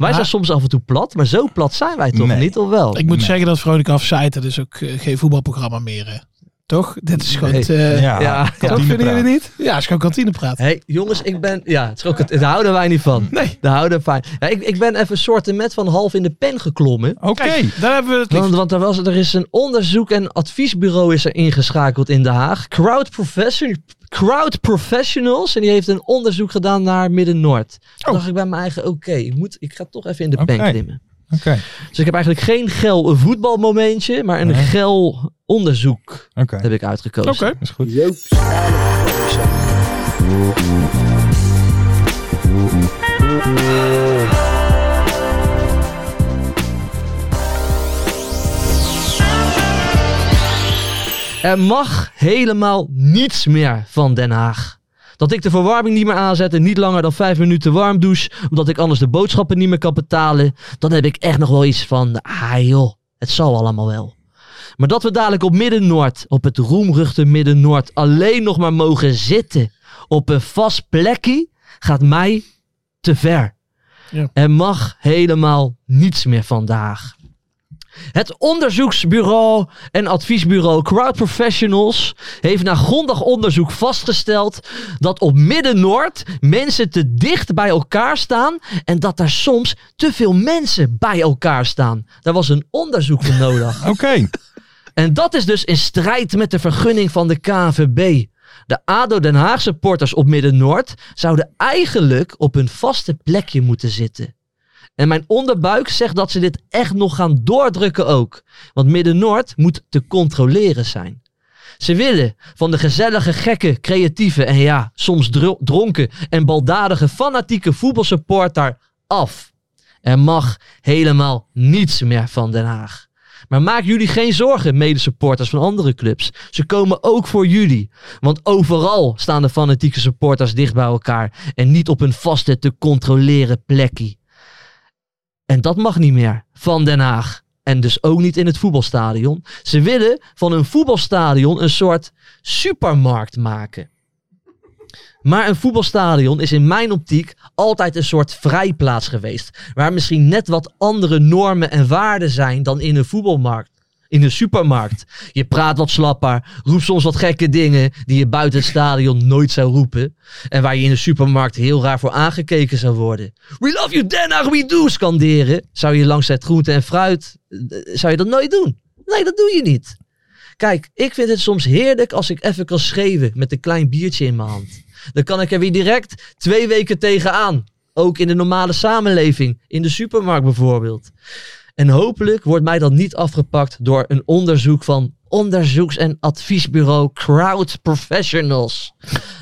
E: Wij
D: Maar-
E: zijn soms af en toe plat, maar zo plat zijn wij toch
C: Nee.
E: niet, of wel?
D: Ik moet
C: Nee.
D: dus zeggen dat Veronica Offside, dat is ook eh, geen voetbalprogramma meer. eh. Toch? Dit is gewoon...
E: Nee.
D: eh,
C: Ja,
E: ja.
D: Toch vinden
C: kantinepraat.
D: jullie niet? Ja, is gewoon kantinepraat.
E: Hé, hey, jongens, ik ben... Ja, het is ook, het- daar houden wij niet van.
D: Nee.
E: Daar houden wij Ja, ik, ik ben even soorten met van half in de pen geklommen.
D: Oh,
C: Oké.
D: Kijk, daar hebben we het
E: Want,
D: liefst.
E: want er, was, er is een onderzoek en adviesbureau is er ingeschakeld in Den Haag. Crowd, Profession- Crowd Professionals. En die heeft een onderzoek gedaan naar Midden-Noord. Toen
D: Oh.
E: dacht ik bij mijn eigen, oké, ik, moet- ik ga toch even in de
C: Oké.
E: pen klimmen.
C: Oké.
E: Dus ik heb eigenlijk geen gel voetbalmomentje, maar een
C: Nee.
E: gel onderzoek
C: Oké.
E: heb ik uitgekozen.
D: Oké.
C: Is goed.
E: Er mag helemaal niets meer van Den Haag. Dat ik de verwarming niet meer aanzet en niet langer dan vijf minuten warm douche, omdat ik anders de boodschappen niet meer kan betalen, dan heb ik echt nog wel iets van, ah joh, het zal allemaal wel. Maar dat we dadelijk op Midden-Noord, op het roemruchte Midden-Noord, alleen nog maar mogen zitten op een vast plekje, gaat mij te ver.
D: Ja.
E: Er mag helemaal niets meer vandaag. Het onderzoeksbureau en adviesbureau Crowd Professionals heeft na grondig onderzoek vastgesteld dat op Midden-Noord mensen te dicht bij elkaar staan en dat daar soms te veel mensen bij elkaar staan. Daar was een onderzoek voor nodig.
C: Oké.
E: En dat is dus in strijd met de vergunning van de KNVB. De ADO Den Haag supporters op Midden-Noord zouden eigenlijk op hun vaste plekje moeten zitten. En mijn onderbuik zegt dat ze dit echt nog gaan doordrukken ook. Want Midden-Noord moet te controleren zijn. Ze willen van de gezellige, gekke, creatieve en ja, soms dro- dronken en baldadige fanatieke voetbalsupporter af. Er mag helemaal niets meer van Den Haag. Maar maak jullie geen zorgen, medesupporters van andere clubs. Ze komen ook voor jullie. Want overal staan de fanatieke supporters dicht bij elkaar. En niet op hun vaste te controleren plekje. En dat mag niet meer van Den Haag. En dus ook niet in het voetbalstadion. Ze willen van hun voetbalstadion een soort supermarkt maken. Maar een voetbalstadion is in mijn optiek altijd een soort vrijplaats geweest. Waar misschien net wat andere normen en waarden zijn dan in een voetbalmarkt. In een supermarkt. Je praat wat slapper, roept soms wat gekke dingen die je buiten het stadion nooit zou roepen. En waar je in een supermarkt heel raar voor aangekeken zou worden. We love you Den Haag, we do scanderen. Zou je langs het groente en fruit, eh, zou je dat nooit doen? Nee, dat doe je niet. Kijk, ik vind het soms heerlijk als ik even kan schreeuwen met een klein biertje in mijn hand. Dan kan ik er weer direct twee weken tegenaan. Ook in de normale samenleving, in de supermarkt bijvoorbeeld. En hopelijk wordt mij dat niet afgepakt door een onderzoek van onderzoeks- en adviesbureau Crowd Professionals.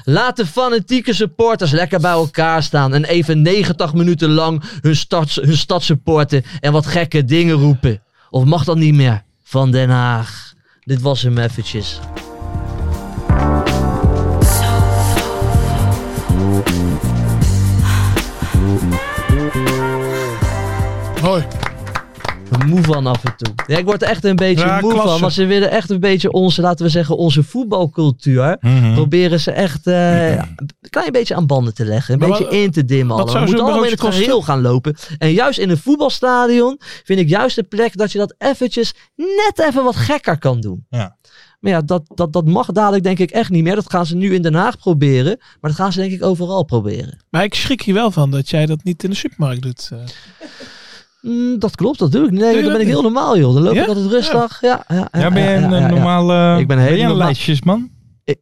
E: Laat de fanatieke supporters lekker bij elkaar staan en even 90 minuten lang hun, stads, hun stad supporten en wat gekke dingen roepen. Of mag dat niet meer? Van Den Haag. Dit was hem eventjes.
D: Mooi.
E: moe van af en toe. Ja, ik word er echt een beetje
D: Ja,
E: moe
D: klasse.
E: van. Want ze willen echt een beetje onze, laten we zeggen, onze voetbalcultuur.
C: Mhm.
E: Proberen ze echt eh, een klein beetje aan banden te leggen. Een
D: Maar
E: beetje
D: wat-
E: in te dimmen.
D: wat
E: allemaal.
D: zou
E: We
D: zo'n
E: moeten allemaal in het
D: broodje
E: geheel gaan lopen. En juist in een voetbalstadion vind ik juist de plek dat je dat eventjes net even wat gekker kan doen.
C: Ja.
E: Maar ja, dat, dat, dat mag dadelijk denk ik echt niet meer. Dat gaan ze nu in Den Haag proberen. Maar dat gaan ze denk ik overal proberen.
D: Maar ik schrik hier wel van dat jij dat niet in de supermarkt doet. eh.
E: Mm, dat klopt, dat doe ik. Nee,
D: je
E: dan ben
D: dat
E: ik
D: niet?
E: heel normaal, joh. Dan loop
D: Ja?
E: ik altijd rustig. Ja, ja, ja,
C: Ja, ben
E: ja,
C: je
E: ja,
C: een
E: ja, ja.
C: eh, normale...
E: Ik ben
C: ben je een
E: helemaal-
C: lijstjesman?
E: Eh,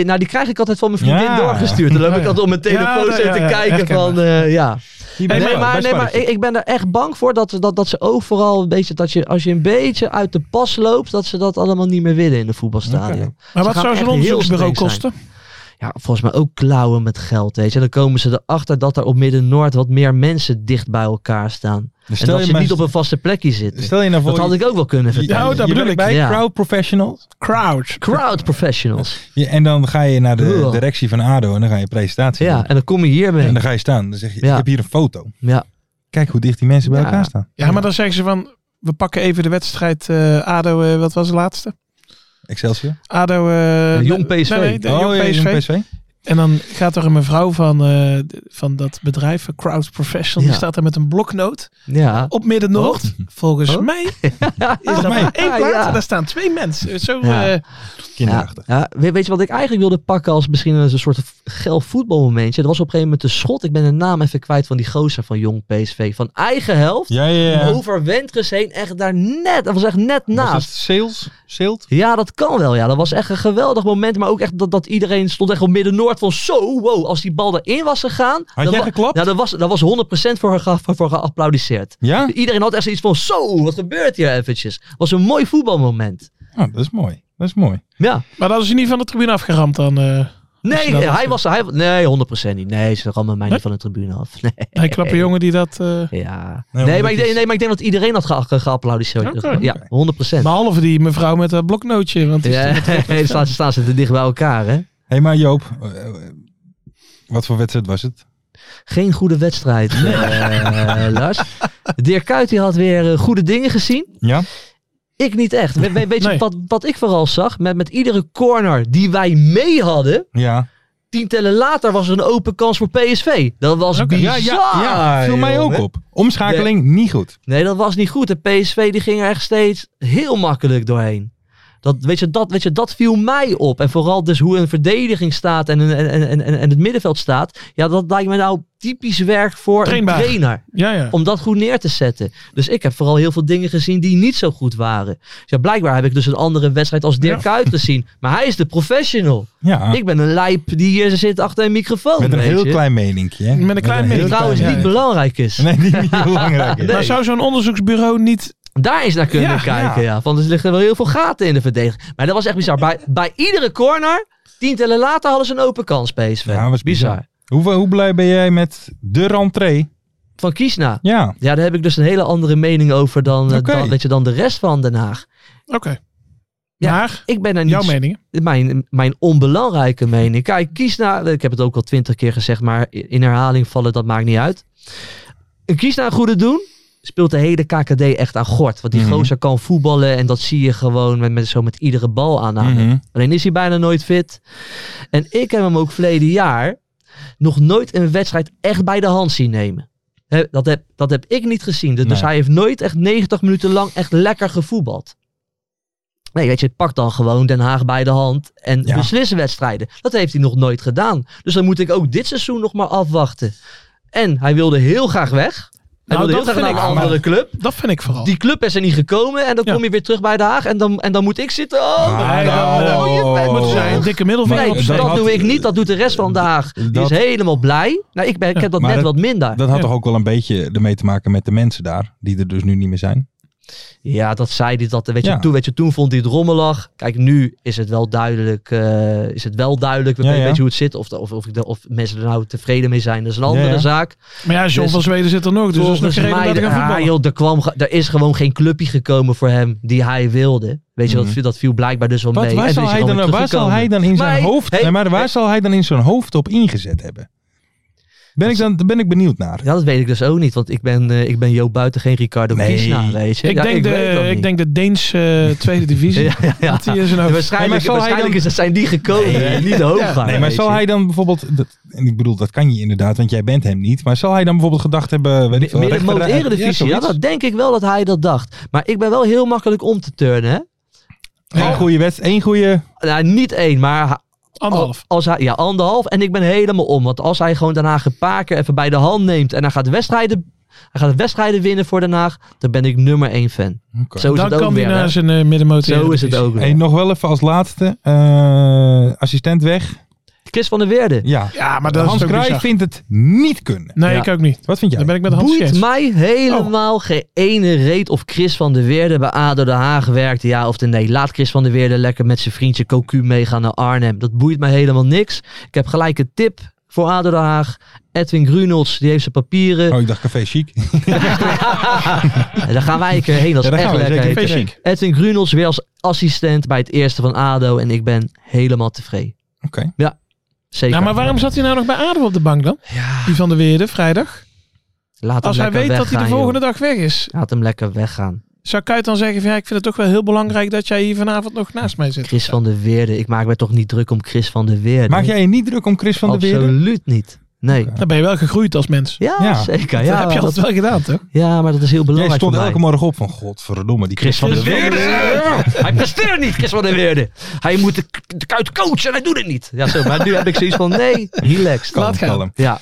E: eh, nou, die krijg ik altijd van mijn vriendin
C: Ja.
E: doorgestuurd. Dan loop ik altijd op mijn telefoon
D: Ja,
E: zo
D: ja,
E: te
D: ja,
E: kijken
D: herkenbaar.
E: van, eh, ja.
C: Hier ben
E: Nee,
C: ik
E: maar,
C: wel, bij
E: nee, maar
C: Sparretjes.
E: ik, ik ben er echt bang voor dat, dat, dat ze overal een beetje, dat je, als je een beetje uit de pas loopt, dat ze dat allemaal niet meer willen in een voetbalstadion.
D: Maar
E: Ze
D: wat
E: gaan
D: zou
E: echt
D: zo'n
E: heel
D: onderzoeksbureau
E: streng
D: kosten?
E: Ja, volgens mij ook klauwen met geld, weet je. En dan komen ze erachter dat er op Midden-Noord wat meer mensen dicht bij elkaar staan.
C: Dus
E: en dat ze
C: maar-
E: niet op een vaste plekje zitten.
C: Stel je nou voor...
E: Dat had ik ook wel kunnen
C: je-
E: vertellen.
D: Ja, dat
C: je
D: bedoel
C: werkt
D: ik.
C: bij
E: Ja.
C: crowd professionals.
D: Crowd.
E: Crowd professionals.
C: Ja, en dan ga je naar de
E: Cool.
C: directie van ADO en dan ga je presentatie doen.
E: Ja, en dan kom je hiermee.
C: En dan ga je staan. Dan zeg je,
E: Ja.
C: ik heb hier een foto.
E: Ja.
C: Kijk hoe dicht die mensen bij
E: Ja.
C: elkaar staan.
D: Ja, maar dan zeggen ze van, we pakken even de wedstrijd eh, ADO, eh, wat was de laatste?
C: Excelsior.
D: ADO... eh,
E: Jong
D: nee,
E: PSV.
D: nee, nee,
C: oh,
D: Jong
C: ja,
D: PSV.
C: Jong PSV.
D: En dan gaat er een mevrouw van, eh, d- van dat bedrijf, van Crowd Professional,
E: Ja.
D: die staat daar met een bloknoot
E: Ja.
D: op Midden-Noord. Volgens
E: Oh.
D: mij is dat maar één
E: Ah,
D: plaat
E: ja.
D: en daar staan twee mensen. Zo,
E: Ja.
D: eh,
E: Ja,
C: Kinderachtig.
E: ja, weet, weet je wat ik eigenlijk wilde pakken als misschien een soort geil voetbalmomentje? Dat was op een gegeven moment de schot. Ik ben de naam even kwijt van die gozer van Jong PSV. Van eigen helft.
C: Ja, ja, ja.
E: Over Wendtjes heen. Echt daar net. Dat was echt net
C: Was dat
E: naast.
C: sales? Sales?
E: Ja, dat kan wel. Ja, dat was echt een geweldig moment. Maar ook echt dat, dat iedereen stond echt op midden-noord van zo, wow. Als die bal erin was gegaan.
C: Had
E: dan
C: jij
E: wa-
C: geklapt?
E: Nou, dat was, dat was 100% voor, ge- voor, voor geapplaudiceerd.
C: Ja?
E: Iedereen had echt iets van zo, wat gebeurt hier eventjes? Was een mooi voetbalmoment.
C: Ah, dat is mooi. Dat is mooi.
E: Ja.
D: maar dat is hij niet van de tribune afgeramd dan. eh Als je
E: Nee,
D: dat
E: hij
D: doet.
E: was, hij, nee, 100% niet. Nee, ze rammen mij
D: Nee?
E: niet van de tribune af. Nee,
D: die knappe jongen die dat... eh,
E: ja. nee,
C: Nee, omdat
E: maar ik
C: het is-
E: denk, nee, maar ik denk dat iedereen dat ge, ge- geapplaudiceerd.
D: Oké.
E: Ja, 100%.
D: Behalve die mevrouw met dat bloknootje. Want die
E: Ja,
D: stond-
E: dan staan, ze- staan ze te dicht bij elkaar, hè?
C: Hé, hey, maar Joop, eh, eh, wat voor wedstrijd was het?
E: Geen goede wedstrijd, eh, Lars. Dirk Kuyt die had weer eh, goede dingen gezien.
C: Ja?
E: Ik niet echt. We- we- weet je
D: Nee.
E: wat, wat ik vooral zag? Met, met iedere corner die wij mee hadden,
C: Ja.
E: tien tellen later was er een open kans voor PSV. Dat was
C: Ja,
E: bizar.
C: ja, ja. Viel mij ook
E: jongen.
C: op. Ah, Omschakeling niet goed.
E: Nee, dat was niet goed. De PSV die ging er echt steeds heel makkelijk doorheen. Dat, weet, je, dat, weet je, dat viel mij op. En vooral dus hoe een verdediging staat en, een- en, en, en, en het middenveld staat. Ja, dat lijkt me nou typisch werk voor
D: Trainbaar.
E: een trainer
D: ja, ja.
E: om dat goed neer te zetten. Dus ik heb vooral heel veel dingen gezien die niet zo goed waren. Dus ja, blijkbaar heb ik dus een andere wedstrijd als Dirk Kuyt gezien. Maar hij is de professional.
C: Ja.
E: Ik ben een lijp die hier zit achter een microfoon.
C: Met een
E: weet
C: heel
E: je.
C: klein meninkje. hè?
D: Met een klein
C: heel
D: meninkje.
E: Die
C: klein
E: trouwens niet
C: meninkje.
E: belangrijk is.
C: Nee, die niet belangrijk is.
E: Nee.
D: Maar zou zo'n onderzoeksbureau niet...
E: Daar eens naar kunnen
D: Ja,
E: kijken. Ja. Want er liggen wel heel veel gaten in de verdediging. Maar dat was echt bizar. Bij, bij iedere corner, tientallen later, hadden ze een open kans, PSV.
C: Ja, dat was bizar.
E: bizar.
C: Hoe, hoe blij ben jij met de rentree?
E: Van Kiesna.
C: Ja.
E: Ja, daar heb ik dus een hele andere mening over dan, eh,
C: Oké.
E: dan, weet je, dan de rest van Den Haag.
D: Oké.
E: Ja.
D: Maar,
E: Ik ben er
D: jouw
E: niet
D: mening.
E: mijn, mijn onbelangrijke mening. Kijk, Kiesna, ik heb het ook al twintig keer gezegd, maar in herhaling vallen, dat maakt niet uit. Een Kiesna een goede doen, speelt de hele KKD echt aan gort. Want die
C: Mhm.
E: gozer kan voetballen en dat zie je gewoon met, met, zo met iedere bal aan.
C: Mhm.
E: Alleen is hij bijna nooit fit. En ik heb hem ook verleden jaar nog nooit een wedstrijd echt bij de hand zien nemen. Hè, dat, heb, dat heb ik niet gezien. Dus
C: Nee.
E: hij heeft nooit echt 90 minuten lang echt lekker gevoetbald. Nee, weet je, pak dan gewoon Den Haag bij de hand en
C: Ja.
E: beslissen wedstrijden. Dat heeft hij nog nooit gedaan. Dus dan moet ik ook dit seizoen nog maar afwachten. En hij wilde heel graag weg. Hij wilde heel graag
D: Nou, dat vind
E: naar een
D: ik wel,
E: andere club.
D: Dat vind ik vooral.
E: Die club is er niet gekomen en dan
D: Ja.
E: kom je weer terug bij Den Haag. En dan, en dan moet ik zitten. Oh,
C: Ah,
E: nee,
C: nou,
E: oh, je bent
D: moet
C: oh.
E: terug.
D: zijn een dikke middelvinger
C: Nee,
E: Nee,
D: opsteken.
E: dat,
C: dat had-
E: doe ik niet. Dat doet de rest van de Haag. Die
C: dat-
E: is helemaal blij. Nou, ik, ben, ik heb dat
C: maar
E: net
C: dat-
E: wat minder.
C: Dat had
D: Ja.
C: toch ook wel een beetje ermee te maken met de mensen daar, die er dus nu niet meer zijn.
E: ja, dat zei hij. Dat, weet,
C: Ja.
E: je, toen, weet je, toen vond hij het rommelig. Kijk, nu is het wel duidelijk. eh, is het wel duidelijk. We
C: Ja,
E: weten
C: ja.
E: weet je hoe het zit. Of, de- of, of, ik de- of mensen er nou tevreden mee zijn. Dat is een
C: Ja,
E: andere
C: ja.
E: zaak.
D: Maar ja, John
E: Dus-
D: van Zweden zit er nog. Dus dat is nog
E: Volgens
D: geen reden
E: mij,
D: dat ik gaan
E: ah,
D: voetballen.
E: joh, er, kwam, ge- er is gewoon geen clubje gekomen voor hem die hij wilde. Weet je, dat, viel- dat viel blijkbaar dus wel
C: Mhm. Wat,
E: mee.
C: waar,
E: En
C: zal
E: toen is
C: hij, dan,
E: gewoon weer
C: waar zal hij
E: teruggekomen.
C: dan in zijn
E: Maar hij-
C: hoofd,
E: hey,
C: nee, maar waar
E: hey.
C: zal hij dan in zijn hoofd op ingezet hebben? Ben ik dan, daar ben ik benieuwd naar.
E: Ja, dat weet ik dus ook niet. Want ik ben, eh, ik ben Joop Buiten geen Ricardo
C: Nee.
E: Kiesna, weet je.
D: Ik,
E: Ja,
D: denk
E: weet dat
D: de,
E: niet.
D: ik denk de Deense eh, tweede divisie.
E: Ja, ja, ja.
D: Dat eh, die
E: Ja,
D: in zijn hoofd.
C: Nee, maar
E: waarschijnlijk
C: zal hij
E: waarschijnlijk
C: dan-
E: is, dat zijn die gekomen, hè, niet de hoofdganger.
C: Nee, maar
E: weet
C: zal
E: je.
C: hij dan bijvoorbeeld, dat, en ik bedoel, dat kan je inderdaad, want jij bent hem niet, maar zal hij dan bijvoorbeeld gedacht hebben, weet ik veel,
E: Meer de
C: rechter-
E: Moot Eredivisie, ja,
C: zoiets.
E: dat denk ik wel dat hij dat dacht. Maar ik ben wel heel makkelijk om te turnen, hè.
C: Eén goede wedstrijd, één goede,
E: Nou, niet één, maar ha-
D: Anderhalf.
E: al- Als hij, ja, anderhalf. En ik ben helemaal om. Want als hij gewoon Den Haag een paar keer even bij de hand neemt en hij gaat wedstrijden, hij gaat wedstrijden winnen voor Den Haag, dan ben ik nummer één fan.
C: Oké.
E: Zo is
D: Dan
E: het ook
D: kan die
E: weer, hè.
D: naar zijn eh, middenmotor.
E: Zo is het ook
C: Hey,
E: weer.
C: nog wel even als laatste, eh, assistent weg.
E: Chris van der Weerde.
C: Ja,
D: Ja, maar dat is
C: Hans
D: ook
C: Kruij
D: bizar.
C: vindt het niet kunnen.
D: Nee,
E: Ja.
D: ik ook niet.
C: Wat Oh. vind jij?
D: Dan ben ik met Hans
E: Boeit
D: Geerts.
E: mij helemaal geen ene reet of Chris van der Weerde bij ADO Den Haag werkte. Ja of de nee. Laat Chris van der Weerde lekker met zijn vriendje Cocu meegaan naar Arnhem. Dat boeit mij helemaal niks. Ik heb gelijk een tip voor ADO Den Haag. Edwin Grunolds, die heeft zijn papieren.
C: Oh, ik dacht café chic.
E: En daar gaan wij een keer heen. Dat is
C: Ja, daar
E: echt
C: gaan we
E: lekker.
C: zeker heen.
E: Chic. Edwin Grunolds weer als assistent bij het eerste van ADO. En ik ben helemaal tevreden.
C: Oké.
E: Ja, zeker.
D: Ja, maar waarom zat hij nou nog bij ADO op de bank dan?
E: Ja,
D: Die van de Weerde, vrijdag.
E: laat hem
D: Als hij
E: lekker
D: weet dat hij de
E: weggaan,
D: volgende dag weg is.
E: joh. Laat hem lekker weggaan.
D: Zou Kuit dan zeggen van ja, ik vind het toch wel heel belangrijk dat jij hier vanavond nog naast mij zit?
E: Chris van der Weerde. Ik maak me toch niet druk om Chris van der Weerde.
C: Maak jij je niet druk om Chris van der Weerden?
E: Absoluut niet. Nee.
D: Dan ben je wel gegroeid als mens.
E: Ja,
C: Ja.
E: zeker.
D: dat
E: Ja,
D: heb je
E: dat-
D: altijd wel gedaan, toch?
E: ja, maar dat is heel
C: Jij
E: belangrijk
C: stond
E: voor mij.
C: elke morgen op van godverdomme, die Chris van der Weerde.
E: Hij presteert niet, Chris van der Weerde. Hij moet de, de kuit coachen en hij doet het niet. Ja, zo, maar nu heb ik zoiets van, nee, relaxed.
C: Kalm, kalm.
E: Ja,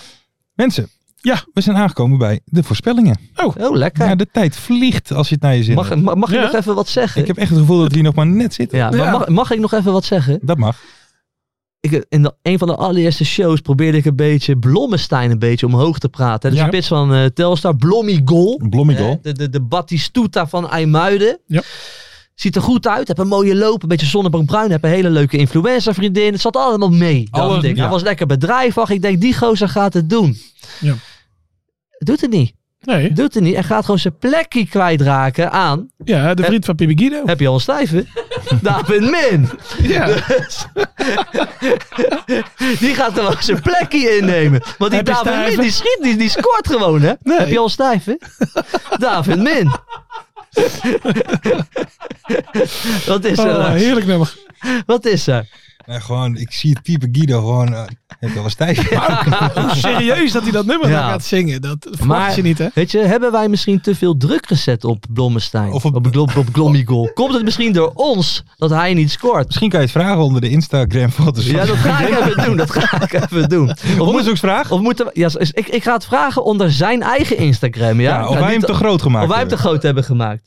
C: Mensen,
D: Ja.
C: we zijn aangekomen bij de voorspellingen.
E: oh, lekker.
C: Ja, de tijd vliegt als je het naar je zin hebt.
E: Mag, mag, mag ik
D: Ja.
E: nog even wat zeggen?
C: Ik heb echt het gevoel dat die nog maar net zitten.
E: ja, maar
D: Ja.
E: Mag, mag ik nog even wat zeggen?
C: Dat mag.
E: Ik, in de- een van de allereerste shows probeerde ik een beetje Blommestein een beetje omhoog te praten. De
C: Ja.
E: spits van eh, Telstar, Blommy Goal.
C: Blommigol.
E: Hè, De, de, de Batistuta van IJmuiden.
D: Ja.
E: Ziet er goed uit. Heb een mooie loop. Een beetje zonnebruin bruin. Heb een hele leuke influencer vriendin. Het zat allemaal mee. dacht
C: Alles-
E: ik.
C: ja.
E: Hij was lekker bedrijvig. Ik denk, die gozer gaat het doen.
D: Ja.
E: Doet het niet.
D: Nee.
E: Doet het niet. En gaat gewoon zijn plekje kwijtraken aan.
D: Ja, de vriend van Pibi Guido.
E: Heb je al een stijve? David Min.
D: Ja.
E: Die gaat gewoon zijn plekje innemen. Want die
D: Heb je
E: David Min,
D: stijve?
E: die schiet, die, die scoort gewoon, hè?
D: Nee.
E: Heb je al stijven? David Min. Wat is er?
D: Oh,
E: Lars?
D: heerlijk nummer.
E: Wat is er?
C: Nee, gewoon, ik zie het type Guido gewoon. eh, heb je al eens tijd?
D: Hoe serieus dat hij dat nummer
E: Ja.
D: dan gaat zingen. Dat verwacht je niet, hè?
E: Weet je, hebben wij misschien te veel druk gezet op Blommestein?
C: Of
E: Of
C: op-
E: op, op, Glo- op Glommigol? Komt het misschien door ons dat hij niet scoort?
C: Misschien kan je het vragen onder de Instagram-foto's.
E: Ja, dat ga ik even doen. Dat ga ik even doen. Of, moet-
C: Onderzoeksvraag?
E: of moeten we, ja, is- ik, ik ga het vragen onder zijn eigen Instagram. Ja,
C: Ja,
E: Ik
C: of
E: ga
C: wij hem
E: niet-
C: te groot gemaakt
E: of wij hem te
C: hebben.
E: groot hebben gemaakt.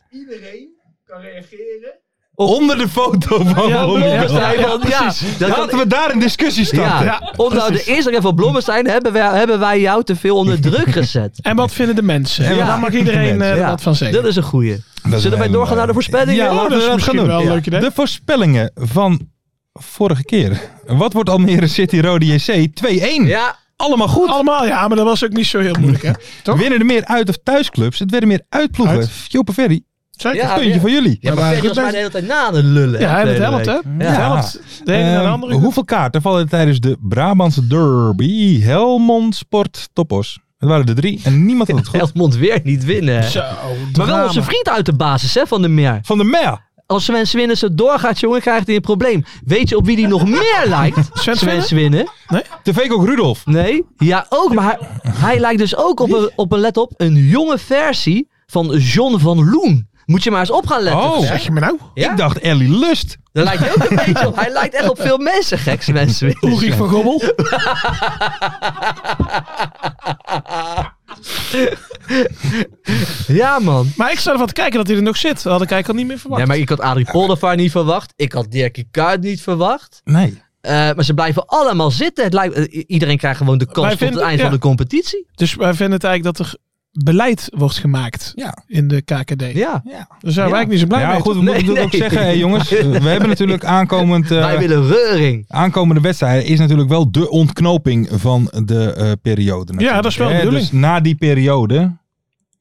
C: Onder de foto van
D: Ja,
C: Blommigol.
D: ja, ja,
E: want- ja, dat kan-
C: Laten we daar een discussie
E: Ja,
C: starten.
E: om nou de Instagram van Blommestein hebben wij, hebben wij jou te veel onder druk gezet.
D: En wat vinden de mensen?
C: En
D: Ja,
C: wat
D: daar mag
C: vinden de
D: iedereen
C: mensen?
D: eh,
E: Ja,
D: wat van zeggen.
E: Dat is een goeie.
C: is
E: Zullen wij
C: een,
E: doorgaan
C: eh,
E: naar de voorspellingen?
C: Ja,
D: Oh,
C: laten
D: dat
C: we
D: is
C: dat gaan
D: misschien
C: doen.
D: wel een
C: Ja.
D: leuk idee.
C: De voorspellingen van vorige keer. Wat wordt Almere City Rode JC 2-1?
E: Ja,
C: Allemaal goed.
D: Allemaal, ja, maar dat was ook niet zo heel moeilijk, hè? Toch?
C: Winnen er meer uit of thuisclubs? Het werden meer uitploegen.
D: Uit.
C: Joppe Ferry,
D: Zeker.
E: Ja,
C: puntje
E: Ah, ja.
C: voor jullie.
E: ja maar Ferry was mij de hele tijd na aan het lullen.
D: Ja, en het
E: tweede
D: helpt, hè?
E: week.
D: Het
E: Ja.
D: helpt. De ene naar de
C: Ehm,
D: andere.
C: hoeveel kaarten vallen er tijdens de Brabantse derby? Helmond Sport Topos. Het waren er drie en niemand had het goed.
E: Helmond weer niet winnen. hè?
D: Zo,
E: Maar
D: drama.
E: wel onze vriend uit de basis, hè, van de meer.
C: Van de Mer.
E: Als Sven Swinnen zo doorgaat, jongen, krijgt hij een probleem. Weet je op wie die nog meer lijkt?
D: Sven
E: Sven
D: Swinnen?
E: Swinnen.
C: De ook Rudolf.
E: Nee? Ja, ook. Maar hij, hij lijkt dus ook op een, op een, let op, een jonge versie van John van Loen. Moet je maar eens op gaan letten.
C: Oh,
D: Zeg je me nou?
E: Ja?
C: ik dacht Ellie Lust.
E: Daar lijkt hij ook een beetje op. Hij lijkt echt op veel mensen, geks mensen.
D: Ulrich van Gobbel?
E: Ja, man.
D: Maar ik sta ervan te kijken dat hij er nog zit. Dat had ik eigenlijk al niet meer verwacht.
E: Ja, maar ik had Adrie Poldervaar niet verwacht. Ik had Dirkie Kuyt niet verwacht.
C: Nee.
E: Eh, maar ze blijven allemaal zitten. Het lijkt, eh, i- iedereen krijgt gewoon de kans
D: Wij
E: tot
D: vinden-
E: het eind
D: ja.
E: van de competitie.
D: Dus wij vinden het eigenlijk dat er beleid wordt gemaakt
C: Ja.
D: in de KKD.
E: Ja. Ja.
D: Daar zijn we eigenlijk niet zo blij
C: Ja,
D: mee.
C: goed, we
E: Nee,
C: moeten dat
E: nee.
C: ook zeggen, hè, jongens. We hebben natuurlijk aankomend, eh,
E: Wij willen reuring.
C: aankomende wedstrijden is natuurlijk wel de ontknoping van de eh, periode. natuurlijk,
D: dat is wel de
C: hè.
D: bedoeling.
C: Dus na die periode,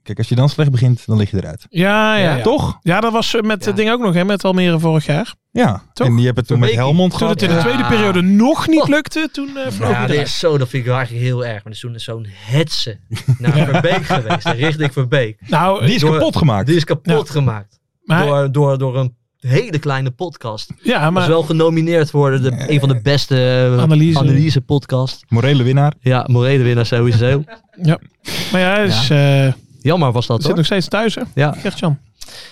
C: kijk, als je dan slecht begint, dan lig je eruit.
D: Ja, ja, ja.
C: Toch?
D: Ja, dat was eh, met het
E: Ja.
D: ding ook nog, hè, met Almere vorig jaar.
C: Ja.
D: Toch?
C: En je hebt het toen met
E: Verbeek-
C: Helmond
D: Toen
C: gehad.
D: het in
E: Ja.
D: de tweede periode nog niet lukte, toen eh vloog
E: Oh. Ja,
D: hij
E: dat
D: eruit.
E: is zo, dat vind ik eigenlijk heel erg. Maar er is toen zo'n hetsen naar Verbeek geweest, richting Verbeek.
D: Nou, eh,
C: Die is
E: Door-
C: kapot gemaakt.
E: Die is kapot gemaakt
D: maar,
E: door, door, door een hele kleine podcast.
D: ja,
E: Maar,
D: maar
E: was wel genomineerd voor de, een van de beste eh,
D: Analyse.
E: analyse-podcast.
C: Morele
D: Oh,
C: winnaar.
E: Ja, Morele winnaar sowieso.
D: Maar ja, hij is, eh,
E: Jammer was dat
D: zit
E: hoor.
D: nog steeds thuis, hè?
E: Ja.
D: Gert-Jan.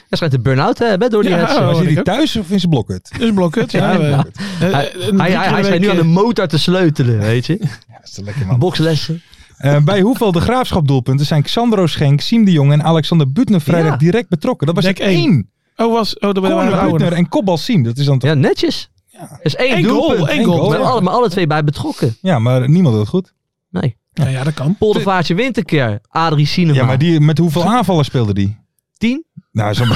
E: Hij schijnt een burn-out te hebben door die
D: Ja,
E: hetsen.
D: oh,
C: Maar zit
D: ik
C: hij
D: ook.
C: thuis of in zijn blokhut?
D: Dus blokhut, ja. we-
E: Ja.
D: eh, eh,
E: Hij,
D: een drie
E: hij,
D: keer
E: hij,
D: de
E: hij schijnt nu
D: week, eh,
E: aan de motor te sleutelen, weet je.
C: Ja, dat is toch lekker man.
E: Boxlessen.
C: Eh, bij hoeveel de graafschap doelpunten zijn Xandro Schenk, Siem de Jong en Alexander Butner vrijdag
E: Ja.
C: direct betrokken? Dat was
D: Dek
C: het één.
D: eh, Oh, was, oh, dat waren we
C: Corner
D: ouder.
C: Butner en kopbal Siem. Dat is dan toch...
E: Ja, netjes. Er is één
D: Eén
E: doelpunt.
D: goal, één
C: Eén
D: goal.
C: goal.
E: Met
C: ja.
E: alle, maar alle twee bij betrokken.
C: Ja, maar niemand doet het goed.
E: Nee.
D: Ja, ja, dat kan.
E: Poldervaartje wint een keer. Adrie Cinema.
C: Ja, maar die, met hoeveel aanvallen speelde die?
E: Tien?
C: Nou, zo'n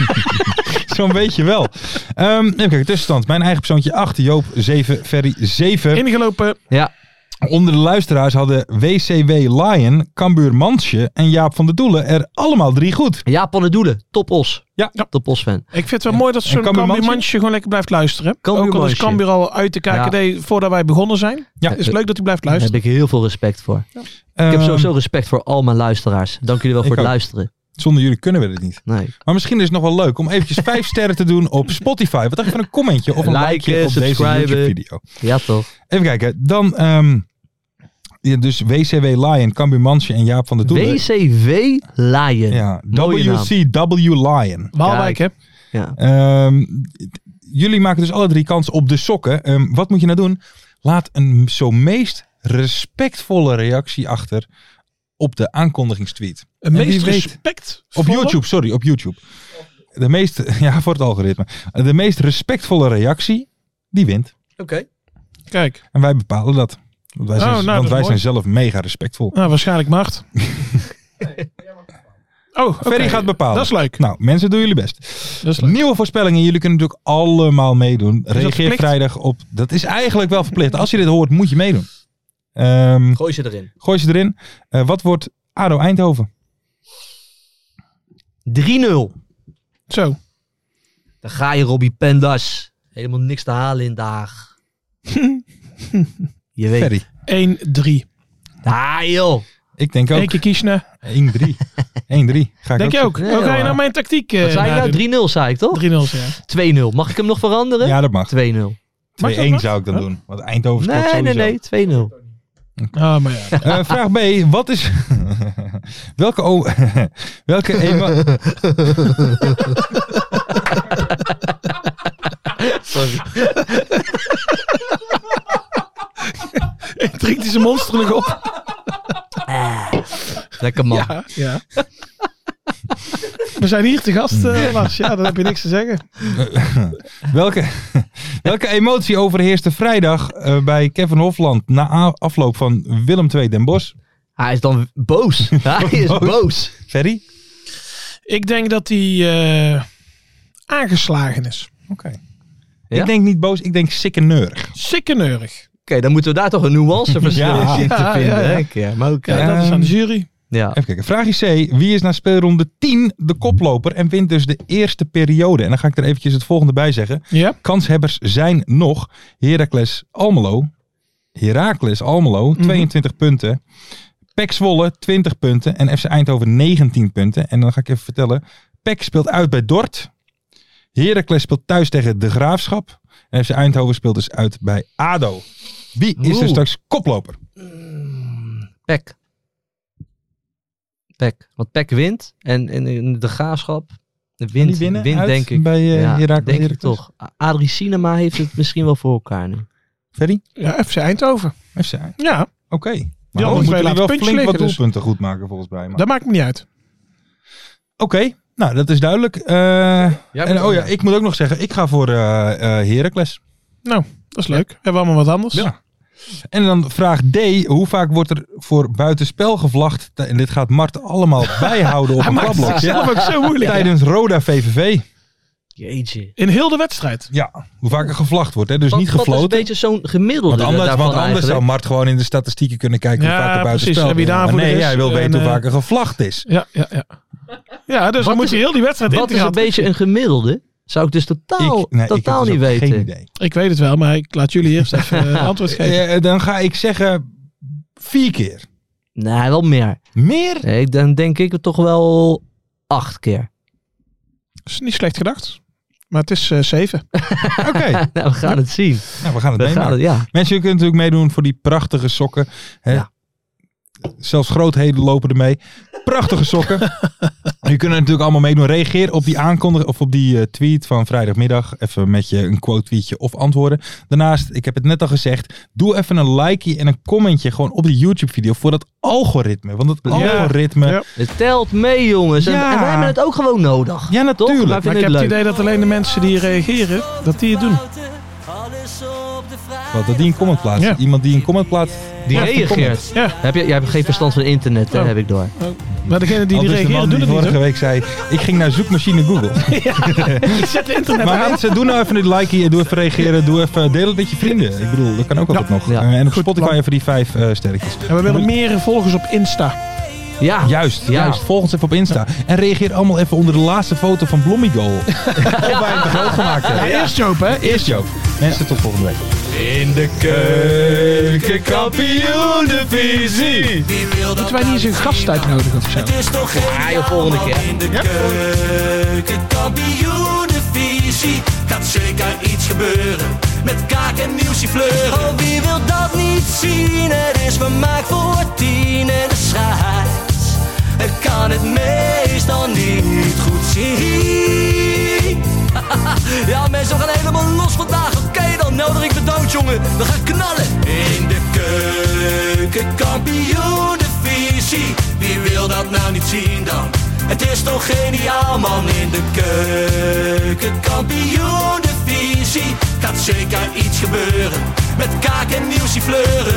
C: zo'n beetje wel. Ehm even kijken, tussenstand. Mijn eigen persoontje 8, Joop 7, Ferry 7.
D: Eh, Ingelopen.
E: Ja.
C: Onder de luisteraars hadden WCW Lion, Cambuur Mansje en Jaap van der Doelen er allemaal drie goed.
E: Jaap van de Doelen. Top Os.
C: Ja.
E: Top Os fan.
D: Ik vind het wel mooi dat
C: En
D: zo'n
C: Cambuur
D: Cambuur
C: Mansje?
D: Mansje gewoon lekker blijft luisteren.
E: Cambuur
D: Ook al is
E: Mansje.
D: Cambuur al uit de KKD voordat wij begonnen zijn.
C: Ja.
D: Is leuk dat hij blijft
E: Daar
D: luisteren. Ehm.
C: Ehm,
E: heb ik heel veel respect voor. Ik heb sowieso respect voor al mijn luisteraars. Dank jullie wel
C: ik
E: voor het
C: ook.
E: luisteren.
C: Zonder jullie kunnen we dit niet.
E: Nee.
C: Maar misschien is het nog wel leuk om eventjes vijf sterren te doen op Spotify. Wat dacht je van een commentje of een
E: Liken,
C: likeje op deze
E: subscriben.
C: YouTube-video?
E: Ja, toch?
C: Even kijken. Dan ehm, ja, dus WCW Lion, Cambuur Mansje en Jaap van der Doelen.
E: WCW Lion.
C: Ja,
E: Mooie naam.
C: WCW Lion.
D: Waalwijk, hè?
E: Ja.
C: Ehm, d- jullie maken dus alle drie kans op de sokken. Ehm, wat moet je nou doen? Laat een zo meest respectvolle reactie achter op de aankondigingstweet.
D: Een
C: En wie
D: meest
C: weet-
D: respect.
C: Op YouTube, sorry, op YouTube. De meest, ja, voor het algoritme. De meest respectvolle reactie, die wint.
E: Oké.
D: Kijk,
C: En wij bepalen dat. Want wij
D: Oh,
C: zijn,
D: nou, dat
C: want
D: is
C: wij
D: mooi.
C: zijn zelf mega respectvol.
D: nou waarschijnlijk Mart. Oh, oké.
C: Ferry gaat bepalen.
D: Dat is leuk.
C: Nou, mensen, doen jullie best.
D: Dat is leuk.
C: Nieuwe voorspellingen. Jullie kunnen natuurlijk allemaal meedoen. Reageer
D: verplicht?
C: vrijdag op. Dat is eigenlijk wel verplicht. Als je dit hoort, moet je meedoen. Ehm,
E: Gooi ze erin.
C: gooi ze erin. Eh, wat wordt ADO Eindhoven?
E: 3-0.
D: Zo.
E: Dan ga je, Robbie Pendas. Helemaal niks te halen in Daag. je weet.
C: Ferry.
D: 1-3.
E: Ah, joh.
C: Ik denk
D: Eén
C: ook
D: keer kiezen.
C: 1-3. 1-3. Ga ik
D: Denk je ook?
E: Nee,
D: Hoe ga je
E: joh.
D: nou mijn tactiek
E: Wat
D: eh
E: zei
D: nadoen?
E: je nou? 3-0 zei ik toch?
D: 3-0, ja.
E: 2-0. Mag ik hem nog veranderen?
C: Ja, dat mag.
E: 2-0. Nee,
C: 2-1 zou ik dan doen. Want Eindhoven scoort
E: nee, nee,
C: sowieso.
E: nee. 2-0.
D: Ah, maar ja.
C: Eh, vraag B. Wat is... welke... O... welke emo...
E: Sorry.
D: Drinkt hij zijn monsterlijk op?
E: Lekker man.
D: Ja, ja. We zijn hier te gast, eh Lars. Ja, dan heb je niks te zeggen.
C: Welke, welke emotie overheerste vrijdag eh, bij Kevin Hofland na a- afloop van Willem II Den Bosch?
E: Hij is dan boos. Hij is
C: Boos.
E: boos.
C: Ferry?
D: Ik denk dat hij eh, aangeslagen is.
C: Oké.
E: Ja?
C: Ik denk niet boos, ik denk sikke neurig.
D: Sikke neurig.
E: Oké, dan moeten we daar toch een nuanceverschil
C: Ja.
E: in zien te
D: Ja,
E: vinden.
D: ja, ja.
E: hè? Ja, maar oké.
D: Ja, dat is aan de jury.
E: Ja.
C: Even kijken. Vraagje C. Wie is na speelronde 10 de koploper en wint dus de eerste periode? En dan ga ik er eventjes het volgende bij zeggen.
D: Ja.
C: Kanshebbers zijn nog Heracles Almelo. Heracles Almelo,
E: Mhm.
C: 22 punten. PEC Zwolle, 20 punten. En FC Eindhoven, 19 punten. En dan ga ik even vertellen. PEC speelt uit bij Dort. Heracles speelt thuis tegen De Graafschap. En FC Eindhoven speelt dus uit bij ADO. Wie is er
E: Oeh.
C: straks koploper?
E: Pek. Pek. Want Pek wint. En, en, en de graafschap
C: Kan
E: wint,
C: die winnen
E: wint
C: uit
E: denk ik.
C: Bij eh
E: ja,
C: Heracles
E: denk ik
C: Heracles?
E: toch. A- Adrie Sinema heeft het misschien wel voor elkaar nu.
C: Ferry?
D: ja, FC Eindhoven.
C: FC. Oké.
D: Ja,
C: Maar dan
D: andere
C: moeten jullie
D: twee laten
C: wel
D: puntjes
C: flink wat
D: liggen, dus.
C: doelpunten goed maken volgens mij. maar-
D: dat maakt me niet uit.
C: Oké, nou dat is duidelijk. Eh, en, oh ja, ik moet ook nog zeggen, ik ga voor eh eh, Heracles.
D: Nou, Dat is leuk. Hebben we allemaal wat anders.
C: Ja. En dan vraag D. Hoe vaak wordt er voor buitenspel gevlacht? T- En dit gaat Mart allemaal bijhouden op
D: Hij
C: een
D: maakt het
C: klapblokje.
D: zelf ook zo moeilijk.
C: Tijdens Roda VVV.
E: Jeetje.
D: In heel de wedstrijd.
C: Ja, hoe vaak er gevlacht wordt. Hè? Dus
E: Wat-
C: niet
E: Wat is een
C: gefloten.
E: beetje zo'n gemiddelde
C: Want anders,
E: daarvan
C: want anders zou
E: eigenlijk?
C: Mart gewoon in de statistieken kunnen kijken
D: Ja,
C: hoe vaak er
D: precies.
C: buitenspel
D: En wie
C: wordt.
D: daarvoor
C: Maar
D: er
C: Nee,
D: is.
C: jij wil
D: En,
C: weten hoe
D: eh,
C: vaak er gevlacht is.
D: Ja, ja, ja. Ja, dus dan
E: Wat
D: moet
E: is-
D: je heel die wedstrijd in
E: Wat
D: te
E: is een
D: gaan.
E: beetje een gemiddelde? Zou ik dus totaal,
C: Ik- nee, ik heb
E: totaal
C: dus
E: niet
C: ook Geen
E: weten.
C: idee.
D: Ik weet het wel, maar ik laat jullie eerst even eh, antwoord geven.
C: Eh, dan ga ik zeggen vier keer.
E: Nee, wel meer.
C: Meer?
E: Nee, dan denk ik het toch wel acht keer.
D: is niet slecht gedacht. Maar het is eh, zeven.
C: Oké,
E: Nou, we gaan het zien.
C: nou, we gaan het
E: We
C: meemaken.
E: gaan het, ja.
C: Mensen, jullie kunnen natuurlijk meedoen voor die prachtige sokken. Hè?
E: Ja.
C: Zelfs grootheden lopen ermee. Prachtige sokken. jullie kunnen natuurlijk allemaal meedoen. Reageer op die aankondiging of op die eh, tweet van vrijdagmiddag. Even met je een quote tweetje of antwoorden. Daarnaast, ik heb het net al gezegd. Doe even een likeje en een commentje gewoon op die YouTube video voor dat algoritme. Want dat
D: Ja.
C: algoritme...
D: Ja.
C: Ja,
E: Het telt mee, jongens. En,
C: Ja.
E: en wij hebben het ook gewoon nodig. Toch? Wij
C: natuurlijk.
D: Maar
E: vinden
D: ik heb het
E: het leuk.
D: idee dat alleen de mensen die reageren, dat die het doen.
C: Wat, dat die een comment plaatst.
D: Ja.
C: Iemand die een comment plaatst.
E: Die
C: plaatst een comment.
E: reageert.
D: Ja.
E: Heb je, jij hebt geen verstand van internet, hè,
D: Oh.
E: heb ik door.
D: Maar degene die,
C: Al
D: die
C: dus de man
D: reageren, doen
C: die
D: het niet.
C: vorige
D: hoor.
C: week zei, ik ging naar zoekmachine Google.
D: Ik zet de internet
C: Maar
D: aan.
C: mensen, doe nou even een like hier. Doe even reageren. Doe even, deel het met je vrienden. Ik bedoel, dat kan ook altijd nog.
E: Ja.
C: Eh, en op Spotify
D: plan.
C: even die vijf eh, sterretjes.
D: En we willen meer volgers op Insta.
E: Ja.
C: Juist, juist.
E: Ja.
C: Volg ons even op Insta. En reageer allemaal even onder de laatste foto van Blommigoal. Of wij hem te groot gemaakt hebben.
D: Eerst Joop, hè?
C: Eerst Joop. Mensen, tot volgende week.
A: In de keuken, kampioen de visie.
C: Moeten wij niet eens een gast uitnodigen of zo?
A: Het is toch
H: Ja, joh, volgende keer.
A: In de keuken, kampioen de visie. Gaat zeker iets gebeuren. Met kaak en nieuwsie fleuren.
E: Oh, wie wil dat niet zien? Het is vermaakt voor tien en de scheids. Ik kan het meestal niet goed zien. ja, mensen, we gaan helemaal los vandaag. Oké, dan nodig ik bedankt, jongen. We gaan knallen.
A: In de keuken, kampioen de visie. Wie wil dat nou niet zien dan? Het is toch geniaal man in de keuken, kampioen de visie. Gaat zeker iets gebeuren, met kaak en nieuwsie fleuren.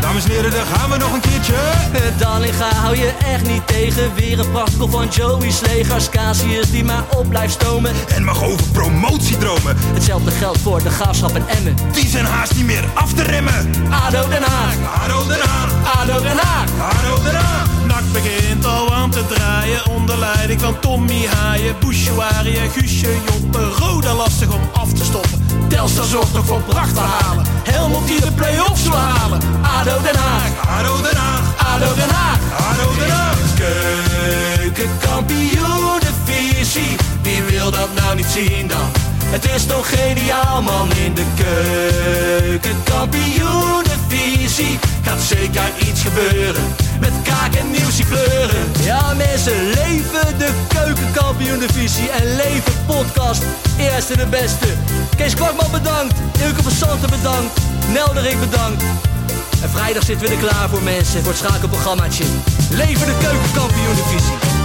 B: Dames en heren, daar gaan we nog een keertje.
E: Eh, Dallinga hou je echt niet tegen. Weer een prachtkel van Joey's legers. Casius die maar op blijft stomen.
B: En mag over promotiedromen.
E: Hetzelfde geldt voor de graafschap en Emmen.
B: Die zijn haast niet meer af te remmen.
E: ADO Den Haag,
B: Haro Den Haag,
E: ADO Den Haag.
B: Haro Den Haag.
A: Nak begint al aan te draaien onder leiding van Tommy Haaien, Bouchouari en Guusje Joppen. Roda lastig om af te stoppen. Telstar zorgt nog voor pracht te halen. Helmond die de play-offs wil halen. ADO Den Haag,
B: Haro Den Haag,
A: ADO Den Haag.
B: Haro Den Haag.
A: Keukenkampioenenvisie, wie wil dat nou niet zien dan? Het is toch geniaal man in de keukenkampioenenvisie. Gaat zeker iets gebeuren, met kaak en nieuwsie kleuren.
E: Ja mensen, leven de keukenkampioen-divisie en leven podcast. Eerste de beste. Kees Kwakman bedankt, Ilke van Santen bedankt, Nelderik bedankt. En vrijdag zitten we er klaar voor mensen, voor het schakelprogrammaatje. Leven de keukenkampioen-divisie.